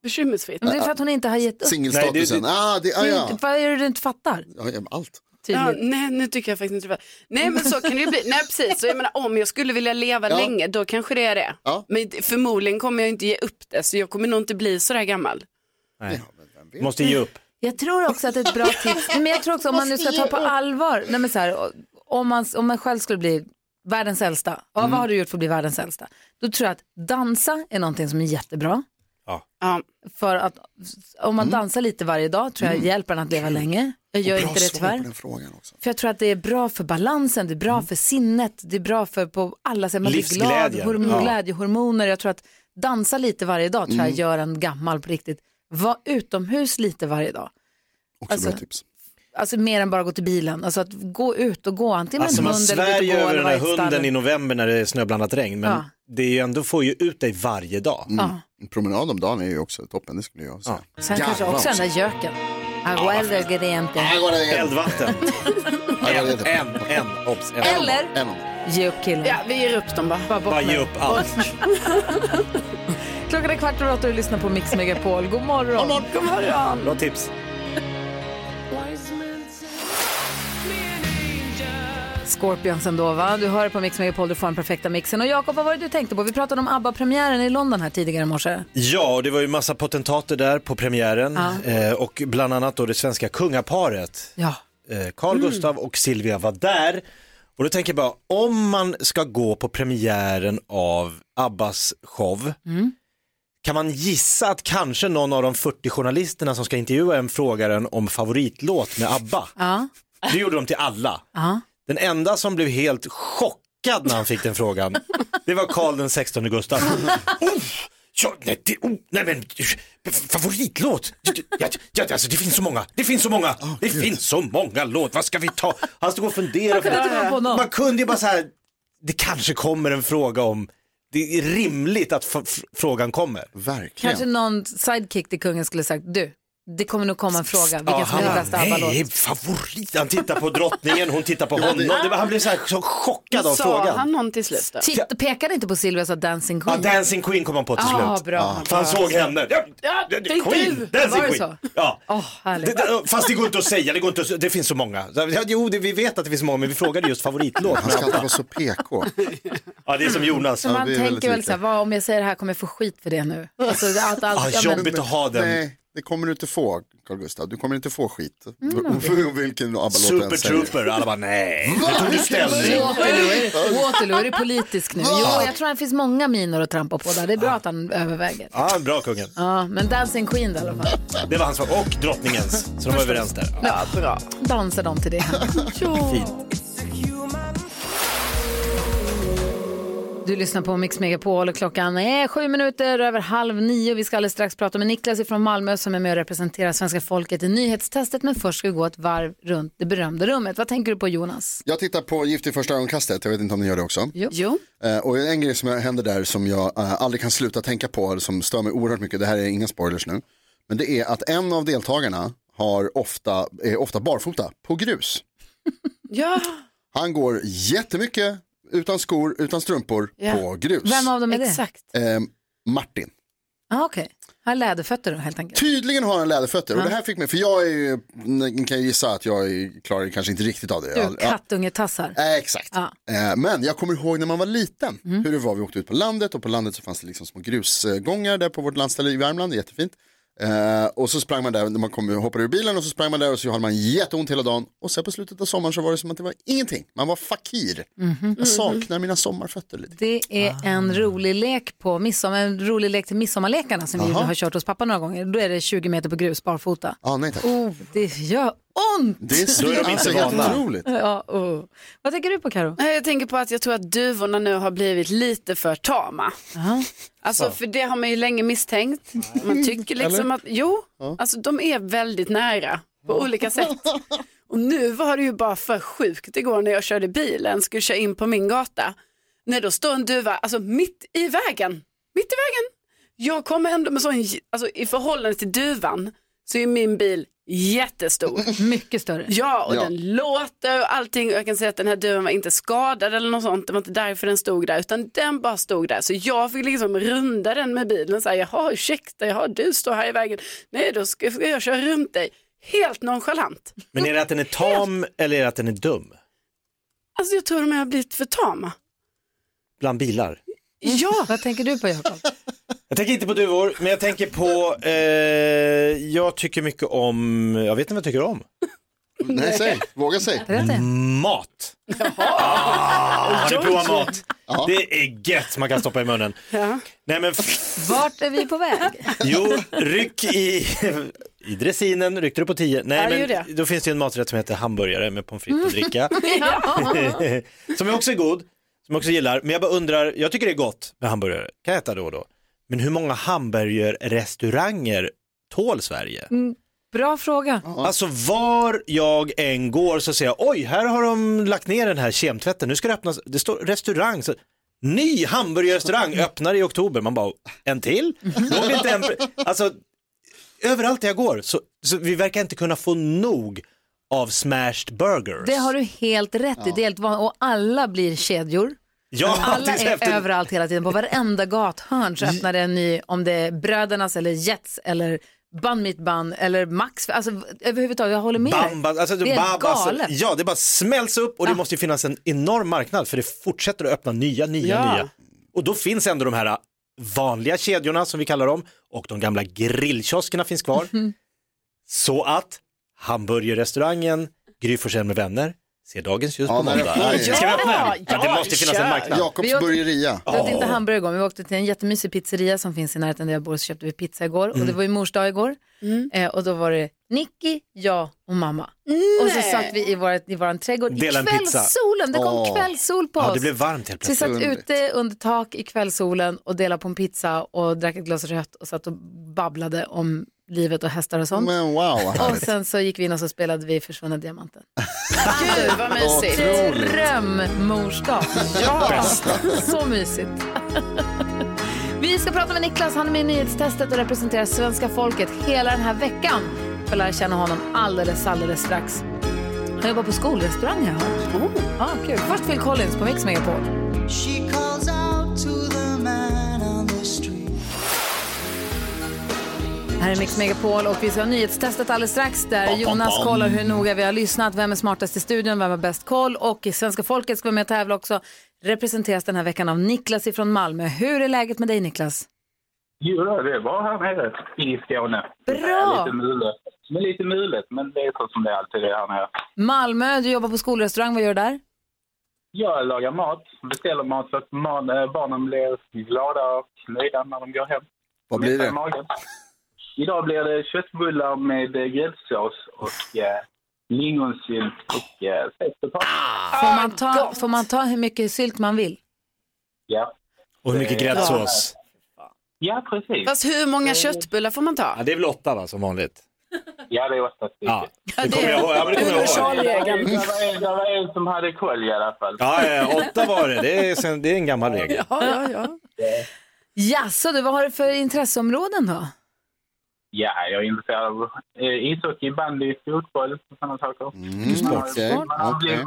D: Bekymmersfritt.
E: Mm.
B: Men det är för att hon inte har gett upp.
E: Singelstatusen, ah, det, ah,
B: Det är
E: ja.
B: inte- Vad är det du inte fattar?
E: Ja, ja, allt.
D: Ja,
B: Tydligt.
D: nej, nu tycker jag faktiskt inte det. var- Nej, men så kan det ju bli. Nej, precis. Så jag menar, om jag skulle vilja leva
E: Ja.
D: länge, då kanske det är det.
E: Ja.
D: Men förmodligen kommer jag inte ge upp det, så jag kommer nog inte bli så där gammal.
C: Nej. Måste ge upp.
B: Jag tror också att det är ett bra tips. Men jag tror också om man nu ska ta på allvar, nej men så här, om, man, om man själv skulle bli världens äldsta, ja,
E: Mm.
B: vad har du gjort för att bli världens äldsta? Då tror jag att dansa är någonting som är jättebra.
C: Ja.
D: Ja.
B: För att om man
E: Mm.
B: dansar lite varje dag tror jag hjälper en att leva länge. Jag gör
E: Bra
B: inte det
E: svar på
B: tyvärr.
E: den Mm. frågan också.
B: För jag tror att det är bra för balansen, det är bra för sinnet, det är bra för på alla sätt. Man blir glad,
C: Livsglädje.
B: hormon,
C: Ja.
B: glädjehormoner. Jag tror att dansa lite varje dag tror jag
E: Mm.
B: gör en gammal på riktigt. Var utomhus lite varje dag.
E: Också
B: Alltså,
E: bra tips.
B: Alltså mer än bara gå till bilen. Alltså att gå ut och gå antingen
C: Alltså
B: med
C: man
B: en hund eller
C: svär ju
B: gå
C: över
B: eller
C: den
B: vara
C: här
B: i ett stall.
C: hunden i november när det är snöblandat regn, men
B: Ja.
C: det är ju ändå får ju ut dig varje dag.
B: Ja.
E: En promenad om dagen är ju också toppen, det skulle jag säga.
B: Sen kanske
E: Garva
B: också den där göken. Aguelder gradiente.
E: Här går det igen.
C: Eldvatten.
E: Här går det igen.
C: En, en, obs, en.
B: Eller
E: En om.
B: ge upp killen.
D: Ja, vi ger upp dem bara.
B: Bara bort
C: Bara
B: med
C: ge
B: det.
C: upp allt.
B: Klockan är kvart över åtta och du lyssnar på Mix Megapol. God morgon. God morgon.
C: Bra tips.
B: Scorpions ändå va? Du hör på Mix Megapol, du får den perfekta mixen. Och Jakob, vad var det du tänkte på? Vi pratade om ABBA-premiären i London här tidigare i morse.
C: Ja, och det var ju massa potentater där på premiären
B: Ja.
C: eh, och bland annat då det svenska kungaparet
B: Ja.
C: eh, Carl
L: Mm.
C: Gustav och Silvia var där. Och då tänker jag bara, om man ska gå på premiären av Abbas show, kan man gissa att kanske någon av de 40 journalisterna som ska intervjua en frågar en om favoritlåt med Abba?
B: Ja.
C: Det gjorde de till alla.
B: Ja.
C: Den enda som blev helt chockad när han fick den frågan, det var Karl den 16
B: (laughs)
C: Gustav. Oh, ja, nej, det, oh, nej men, favoritlåt? Ja, ja, alltså, det finns så många, det finns så många, det finns så många låt, vad ska vi ta? Han stod och
L: Man
C: funderade.
L: kunde inte komma på någon.
C: Man kunde ju bara så här, det kanske kommer en fråga om, det är rimligt att f- f- frågan kommer.
B: Kanske någon sidekick till kungen skulle sagt, du, det kommer nog komma en fråga, vilken som är
C: han
B: den
C: bara,
B: bästa
C: Nej,
B: ABBA-låt?
C: favorit. Han tittar på drottningen, hon tittar på
D: Ja, det-
C: honom. Det var, han blev så, här, så chockad av
D: Sa
C: frågan.
D: han någon till slut då?
B: Titt- Pekade inte på Silvia och sa Dancing
C: Ja,
B: Queen?
C: Dancing Queen kom han på till
B: Ah,
C: slut.
B: bra.
C: Ja. För han såg henne. Ja,
D: Ja,
C: det-
D: det är du.
C: Queen, Dancing
D: Var det
C: Queen.
D: så?
C: Ja.
B: Åh, härligt.
C: Det, det, fast det går inte att säga, det, går inte att, det finns så många. Ja, Jo, det, vi vet att det finns så många, men vi frågade just favoritlåt.
E: Han ska inte vara så PK.
C: Ja, det är som Jonas.
D: Mm.
B: Så man tänker väl så här, vad, om jag säger det här kommer jag få skit för det nu. Alltså,
C: (laughs)
B: allt, allt,
C: Ah,
B: ja, men-
E: Nej, det kommer du inte få, Carl Gustav. Du kommer inte få skit.
B: Mm.
E: (laughs) Vilken ABBA-låt du än
C: Super
E: säger.
C: Trooper, alla bara nej.
E: Va?
C: Nu tog du ställning.
B: Waterloo, är- Waterloo, är det politisk nu? Jo, jag tror det finns många minor att trampa på där. Det är bra att han överväger.
C: Ja, bra kungen.
B: Ja, men Dancing Queen då, i alla fall.
C: Det var hans svar. Och drottningens, så de var överens där.
B: Ja, bra. Dansar de till det. (laughs) Du lyssnar på Mix Megapol och klockan är sju minuter över halv nio. Vi ska alldeles strax prata med Niklas från Malmö som är med och representerar svenska folket i nyhetstestet. Men först ska vi gå ett varv runt det berömda rummet. Vad tänker du på Jonas?
E: Jag tittar på Gift i första ögonkastet, jag vet inte om ni gör det också.
B: Jo.
E: Eh, Och en grej som händer där som jag eh, aldrig kan sluta tänka på, eller som stör mig oerhört mycket, det här är inga spoilers nu, men det är att en av deltagarna har ofta, är ofta barfota på grus.
D: Ja.
E: Han går jättemycket utan skor, utan strumpor
B: Ja.
E: på grus.
B: Vem av dem är det? Exakt.
E: Eh, Martin.
B: Ah, Okej, han har läderfötter då helt enkelt.
E: Tydligen har han läderfötter
B: Ja.
E: och det här fick mig, för jag är ju, ni kan ju gissa att jag är- klarar kanske inte riktigt av det.
B: Du,
E: Jag- ja.
B: kattungetassar.
E: Eh, Exakt. Eh, Men jag kommer ihåg när man var liten hur det var. Vi åkte ut på landet och på landet så fanns det liksom små grusgångar där på vårt landställe i Värmland. Jättefint. Eh, och så sprang man där, när man kom, hoppade ur bilen och så sprang man där och så hade man jätteont hela dagen. Och sen på slutet av sommaren så var det som att det var ingenting. Man var fakir. Jag saknar mina sommarfötter lite.
B: Det är en rolig lek på midsommar, en rolig lek till midsommarlekarna som vi
E: Jaha.
B: har kört hos pappa några gånger. Då är det 20 meter på grus barfota.
E: Ah, nej, tack.
B: Oh, det gör ont!
E: Det är Då är de inte alltså helt vana. otroligt.
B: Ja, oh. Vad tänker du på Karo?
D: Nej, Jag tänker på att jag tror att duvorna nu har blivit lite för tama. Alltså
B: Så.
D: för det har man ju länge misstänkt. Man tycker liksom
B: Eller?
D: att, jo, alltså de är väldigt nära på olika sätt. Och nu var det ju bara för sjukt igår när jag körde bilen, skulle köra in på min gata. När då står en duva, alltså mitt i vägen, mitt i vägen. Jag kommer ändå med sån, alltså i förhållande till duvan så är min bil jättestor.
B: Mycket större.
D: Ja, och
B: Ja.
D: den låter och allting. Och Jag kan säga att den här duvan var inte skadad eller något sånt. Det var inte därför den stod där, utan den bara stod där. Så jag fick liksom runda den med bilen. Så här, jaha, ursäkta, jaha, du står här i vägen. Nej, då ska ska jag köra runt dig. Helt nonchalant.
C: Men är det att den är tam eller är det att den är dum?
D: Alltså jag tror de har blivit för tama.
C: Bland bilar?
D: Ja.
B: Vad tänker du på Jakob?
C: Jag tänker inte på duvor, men jag tänker på, eh, jag tycker mycket om, jag vet inte vad jag tycker om.
E: Nej, säg. Våga säg.
C: Mm. Mat. Ah, har ni provat mat? Det är gött man kan stoppa i munnen.
B: Ja.
C: Nej men f-
B: Vart är vi på väg?
C: jo, ryck i, i dressinen, ryckte du på tio?
B: Ja, det
C: Nej
B: gjorde
C: men då finns det ju en maträtt som heter hamburgare med pommes frites och dricka.
B: (laughs) Ja.
C: (laughs) som jag också är god, som jag också gillar. Men jag bara undrar, jag tycker det är gott med hamburgare, kan jag äta då och då. Men hur många hamburgerrestauranger tål Sverige?
B: Mm, Bra fråga.
C: Alltså var jag än går så ser jag, oj, här har de lagt ner den här kemtvätten, nu ska det öppnas, det står restaurang, så, ny
B: Mm.
C: hamburgerrestaurang öppnar i oktober, man bara, en till? Låg inte en... Alltså, överallt där jag går, så, så vi verkar inte kunna få nog av smashed burgers.
B: Det har du helt rätt i. Det är helt van- och alla blir kedjor.
C: Ja,
B: alla
C: tills
B: är
C: efter-
B: överallt hela tiden. På varenda gathörn så öppnar det en ny, om det är Brödernas eller Jets eller Bun Mitt Bun eller Max. Alltså överhuvudtaget, jag håller med dig.
C: Bamba, alltså,
B: Det är
C: Babas-
B: galet.
C: ja, det bara smälls upp och det måste ju finnas en enorm marknad för det fortsätter att öppna nya, nya,
B: Ja.
C: nya. Och då finns ändå de här vanliga kedjorna som vi kallar dem och de gamla grillkioskerna finns kvar. Så att hamburgerrestaurangen Gry Forssell med vänner. Se dagens ljus på
E: när
C: måndag.
E: öppnar vi?
C: Ska vi öppna den?
E: Ja,
C: Ja, det måste finnas en marknad.
E: Jakobs burgeria.
B: Vi åt inte hamburgare igår, men vi åkte till en jättemysig pizzeria som finns i närheten där jag bor, så köpte vi pizza igår. Och
C: Mm.
B: det var ju mors dag igår. Eh, och då var det Nicky, jag och mamma. Och så satt vi i, vårat, i våran trädgård
C: Dela
B: i
C: en pizza.
B: kvällssolen. Det kom
C: Åh.
B: kvällssol på
C: Ja,
B: oss.
C: det blev varmt helt
B: Så vi satt
C: plötsligt.
B: ute under tak i kvällssolen och delade på en pizza och drack ett glas rött och satt och babblade om livet och hästar och sånt.
E: Men wow, vad
B: och
E: härligt.
B: sen så gick vi in och så spelade vi Försvunna Diamanten.
D: (laughs) Gud vad mysigt.
B: Drömmorsdag. Ja,
D: Bästa.
B: så mysigt. (laughs) Vi ska prata med Niklas. Han är med i nyhetstestet och representerar svenska folket hela den här veckan. Vi får lära känna honom alldeles, alldeles strax. Han jobbar på skolrestaurang har jag hört.
D: Oh.
B: Ja, kul. Först Phil Collins på Mix Megapol.
M: She calls out to the man on the street.
B: Här är Mix Megapol och vi ska ha nyhetstestet alldeles strax där
M: Bam, bam,
B: Jonas
M: bam.
B: kollar hur noga vi har lyssnat, vem är smartast i studion, vem har bäst koll och i svenska folket ska vara med och tävla också. Representeras den här veckan av Niklas ifrån Malmö. Hur är läget med dig Niklas?
N: Jo, det är bra här nere i Skåne. Det är lite mulet, men lite mulet, men det är så som det alltid är här nere.
B: Malmö, du jobbar på skolrestaurang, vad gör du där?
N: Jag lagar mat, beställer mat så att man, eh, barnen blir glada och nöjda när de går hem.
E: Vad blir det?
B: Mm.
N: I magen. Idag blir det köttbullar med eh, gräddsås och eh, lingonsylt och eh, fetpotatis.
M: Ah,
B: Får man, ta, får man ta hur mycket sylt man vill?
N: Ja.
C: Och hur mycket
N: Det är-
C: gräddsås?
N: Ja, precis.
D: Fast hur många köttbullar får man ta?
C: Ja, det är väl åtta va, som vanligt?
N: Ja, det är åtta stycken.
C: Ja, det kommer jag ihåg. Ja, men det kommer jag
N: (laughs)
C: ihåg.
D: Universalregeln.
N: Det var en- det var en som hade koll i alla fall.
C: Ja, ja, åtta var det. Det är, sen, det är en gammal regel.
B: ja, ja. Jaså du, vad har du för intresseområden då?
N: Ja, jag är intresserad av eh, ishockey, bandy, fotboll och sådana saker.
E: sport,
N: man, har,
E: okej,
N: man, har
E: Mm. okej.
N: blivit,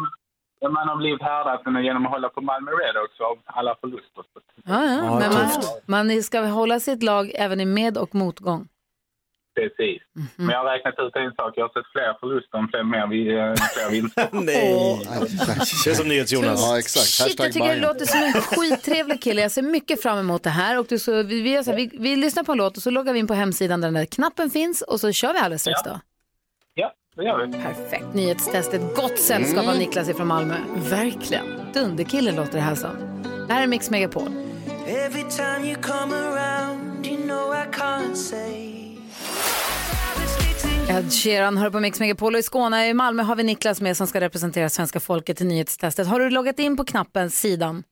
N: ja, man har blivit härdad sen genom att hålla på Malmö Redhawks av alla förluster.
B: Ja, ja.
N: Ja,
B: Men man,
N: tufft.
B: man ska hålla sitt lag även i med och motgång.
N: Precis.
E: Mhm.
N: Men jag har räknat ut en sak. Jag har sett fler förluster än fler, mer, vi- eh, fler vinster.
E: (laughs)
C: Nej! Det är som NyhetsJonas.
E: Ja, exakt.
B: Shit, jag tycker du låter som en skittrevlig kille. Jag ser mycket fram emot det här. Och du, så, vi, vi, gör så här, vi, vi lyssnar på en låt och så loggar vi in på hemsidan där den där knappen finns och så kör vi alldeles strax då.
N: Ja, det gör vi.
B: Perfekt. Nyhetstestet. Gott sällskap av
N: Mm.
B: Niklas ifrån Malmö. Verkligen. Dunderkille låter det här som. Det här är Mix Megapol.
M: Every time you come around, you know I can't say.
B: Ed Sheeran hör på Mix Megapol och i Skåne, i Malmö har vi Niklas med som ska representera svenska folket i nyhetstestet. Har du loggat in på knappen, sidan?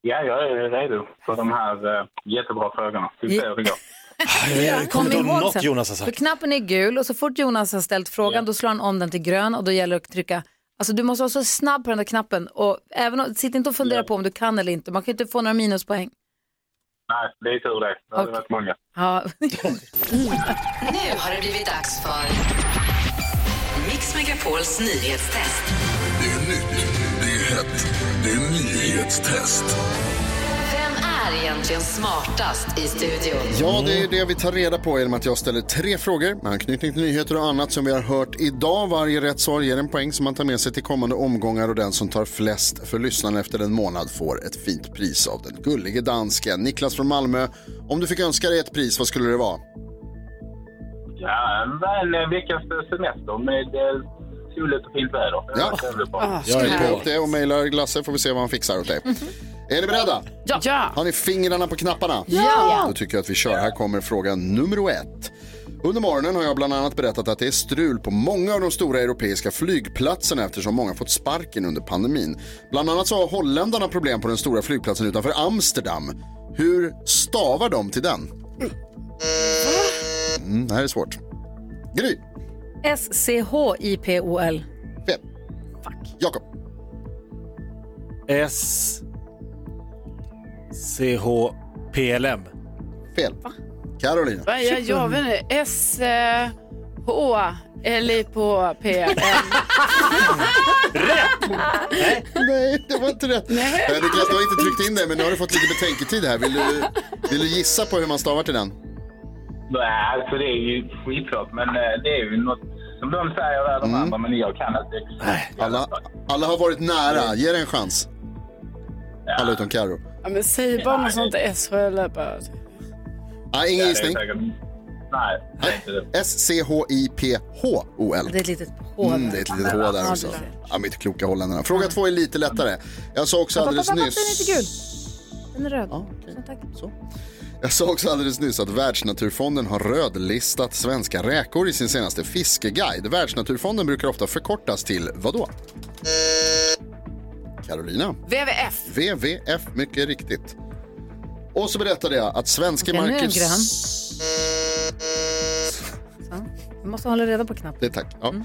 N: Ja, jag är redo för de här eh, jättebra frågorna. Vi får se hur det går.
C: Jag kommer inte ihåg något
B: sen.
C: Jonas har
B: För
C: sagt.
B: knappen är gul och så fort Jonas har ställt frågan då slår han om den till grön och då gäller det att trycka. Alltså du måste vara så snabb på den där knappen och även om, sitt inte och fundera på om du kan eller inte. Man kan ju inte få några minuspoäng.
N: Nej, det är tur det. Det hade varit många.
B: Ja. (laughs)
A: Nu har det blivit dags för Mix Megapols nyhetstest.
O: Det är nytt, det är hett, det är nyhetstest.
A: Vem är egentligen smartast i studion?
E: Ja, det är det vi tar reda på genom att jag ställer tre frågor med anknytning till nyheter och annat som vi har hört idag. Varje rätt svar ger en poäng som man tar med sig till kommande omgångar och den som tar flest för lyssnaren efter en månad får ett fint pris av den gullige dansken Niklas från Malmö. Om du fick önska dig ett pris, vad skulle det vara?
N: Ja, en väl eh, veckas semester med eh, soligt och fint väder.
E: Ja. Ah, Jag är på Mhm. det och mejlar Glasse får vi se vad han fixar åt dig. Är ni beredda?
D: Ja.
E: Har ni fingrarna på knapparna?
D: Ja.
E: Då tycker jag att vi kör. Här kommer fråga nummer ett. Under morgonen har jag bland annat berättat att det är strul på många av de stora europeiska flygplatserna eftersom många fått sparken under pandemin. Bland annat så har holländarna problem på den stora flygplatsen utanför Amsterdam. Hur stavar de till den? Mm, det här är svårt. Gry,
B: S-C-H-I-P-O-L.
E: Jakob.
C: S... C H P L M.
E: Fel. Carolina.
D: Va, jag, jag vet inte. S, eh, H, L, I, P, P,
E: (laughs)
D: L.
E: Nej, det var inte rätt. Eh, Det är klart, du har inte tryckt in det, men nu har du fått lite betänketid här. Vill du, vill du gissa på hur man stavar till den?
N: Nej, alltså det är ju skitsvårt, men eh, det är ju något som de säger där, de andra, men jag kan inte exakt.
E: Alla, alla har varit nära. Ge det en chans. Alla utom Carro.
D: Ja, men säg bara något sånt S, H, L, bara.
E: Nej, ingen gissning.
N: det är säkert- Nej, det är inte det.
E: S-C-H-I-P-H-O-L.
B: Det är ett litet H
E: Mm, det är ett litet H där också. Ja, men inte kloka holländarna. Fråga två är lite lättare. Jag sa också alldeles
B: Pappa, pappa, pappa, Den är
E: nyss...
B: inte gul. Den är röd. Så, tack.
E: Jag sa också alldeles nyss att Världsnaturfonden har rödlistat svenska räkor i sin senaste fiskeguide. Världsnaturfonden brukar ofta förkortas till vad då? Carolina.
D: WWF.
E: WWF, mycket riktigt. Och så berättade jag att svenske
B: Okej, nu är den
E: Marcus...
B: grön. Vi måste hålla reda på knappen.
E: Det är tack. Ja.
D: Mm.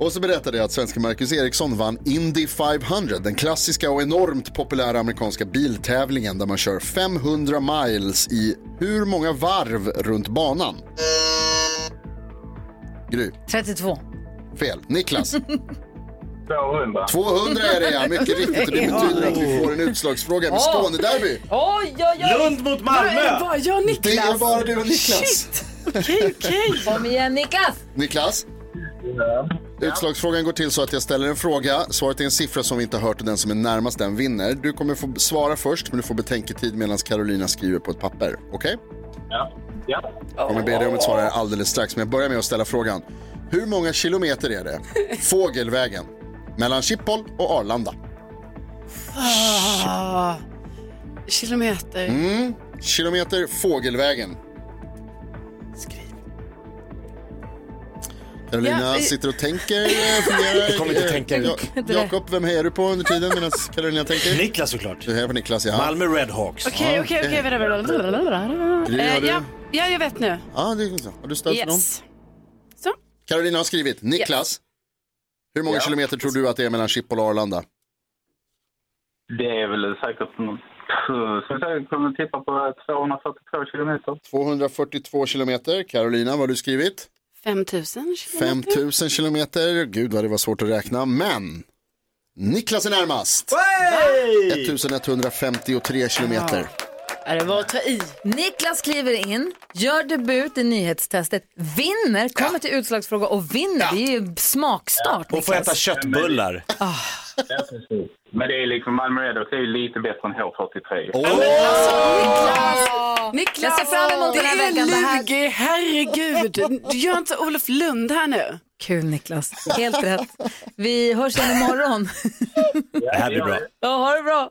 E: Och så berättade jag att svenske Marcus Eriksson vann Indy 500, den klassiska och enormt populära amerikanska biltävlingen där man kör 500 miles i hur många varv runt banan? Gry,
B: 32.
E: fel.
D: (laughs)
E: Niklas.
N: 200.
E: 200 är det ja, mycket riktigt. Det betyder att vi får en utslagsfråga med Skånederby.
B: Oj, oj, oj.
C: Lund mot Malmö.
D: Då är det bara jag och Niklas.
E: Det är bara du och Niklas.
D: Shit. Okej, okej.
B: Kom igen Niklas!
E: Niklas? Utslagsfrågan går till så att jag ställer en fråga. Svaret är en siffra som vi inte har hört och den som är närmast den vinner. Du kommer få svara först men du får betänketid medan Carolina skriver på ett papper. Okej?
N: Ja. Ja.
E: Jag kommer be dig om ett svar här alldeles strax men jag börjar med att ställa frågan. Hur många kilometer är det fågelvägen mellan Schiphol och Arlanda?
D: Ah, kilometer.
E: Mm. Kilometer fågelvägen. Skriv. Carolina
D: Ja, eh.
E: sitter och tänker. eh, funderar.
C: Jag kommer inte tänka ut.
E: Ja, Jakob, vem hejar du på under tiden medan Carolina tänker?
C: Niklas såklart.
E: Du hejar på Niklas, ja.
C: Malmö Redhawks.
D: Okej, okej, okej. vänta, vänta, vänta, vänta, vänta.
E: Gry, har
D: Eh,
E: du-
D: Ja, ja, jag vet nu.
E: Ja, det är så. Har du stöd för dem?
D: Yes. Så.
E: Carolina har skrivit. Niklas, hur många kilometer tror du att det är mellan Schiphol och Arlanda?
N: Det är väl säkert någon... Så jag kommer tippa på 242 kilometer.
E: 242 kilometer. Carolina, vad har du skrivit?
D: 5 000 kilometer.
E: 5000 kilometer. Gud vad det var svårt att räkna, men Niklas är närmast. 1153 kilometer.
G: Ja, det var att ta i.
B: Niklas kliver in, gör debut i nyhetstestet, vinner, kommer till utslagsfråga och vinner. Det är ju smakstart
C: Och får
B: Niklas.
C: äta köttbullar.
N: Men det är liksom Malmö Redhawks är ju lite bättre än H43.
D: Niklas,
B: Jag ser fram emot den här
D: det är
B: veckan. Det här-
D: Lugi, herregud. Du gör inte Olof Lund här nu.
B: Kul Niklas, helt rätt. Vi hörs igen imorgon.
C: Det här blir bra.
B: Ja, ha det bra.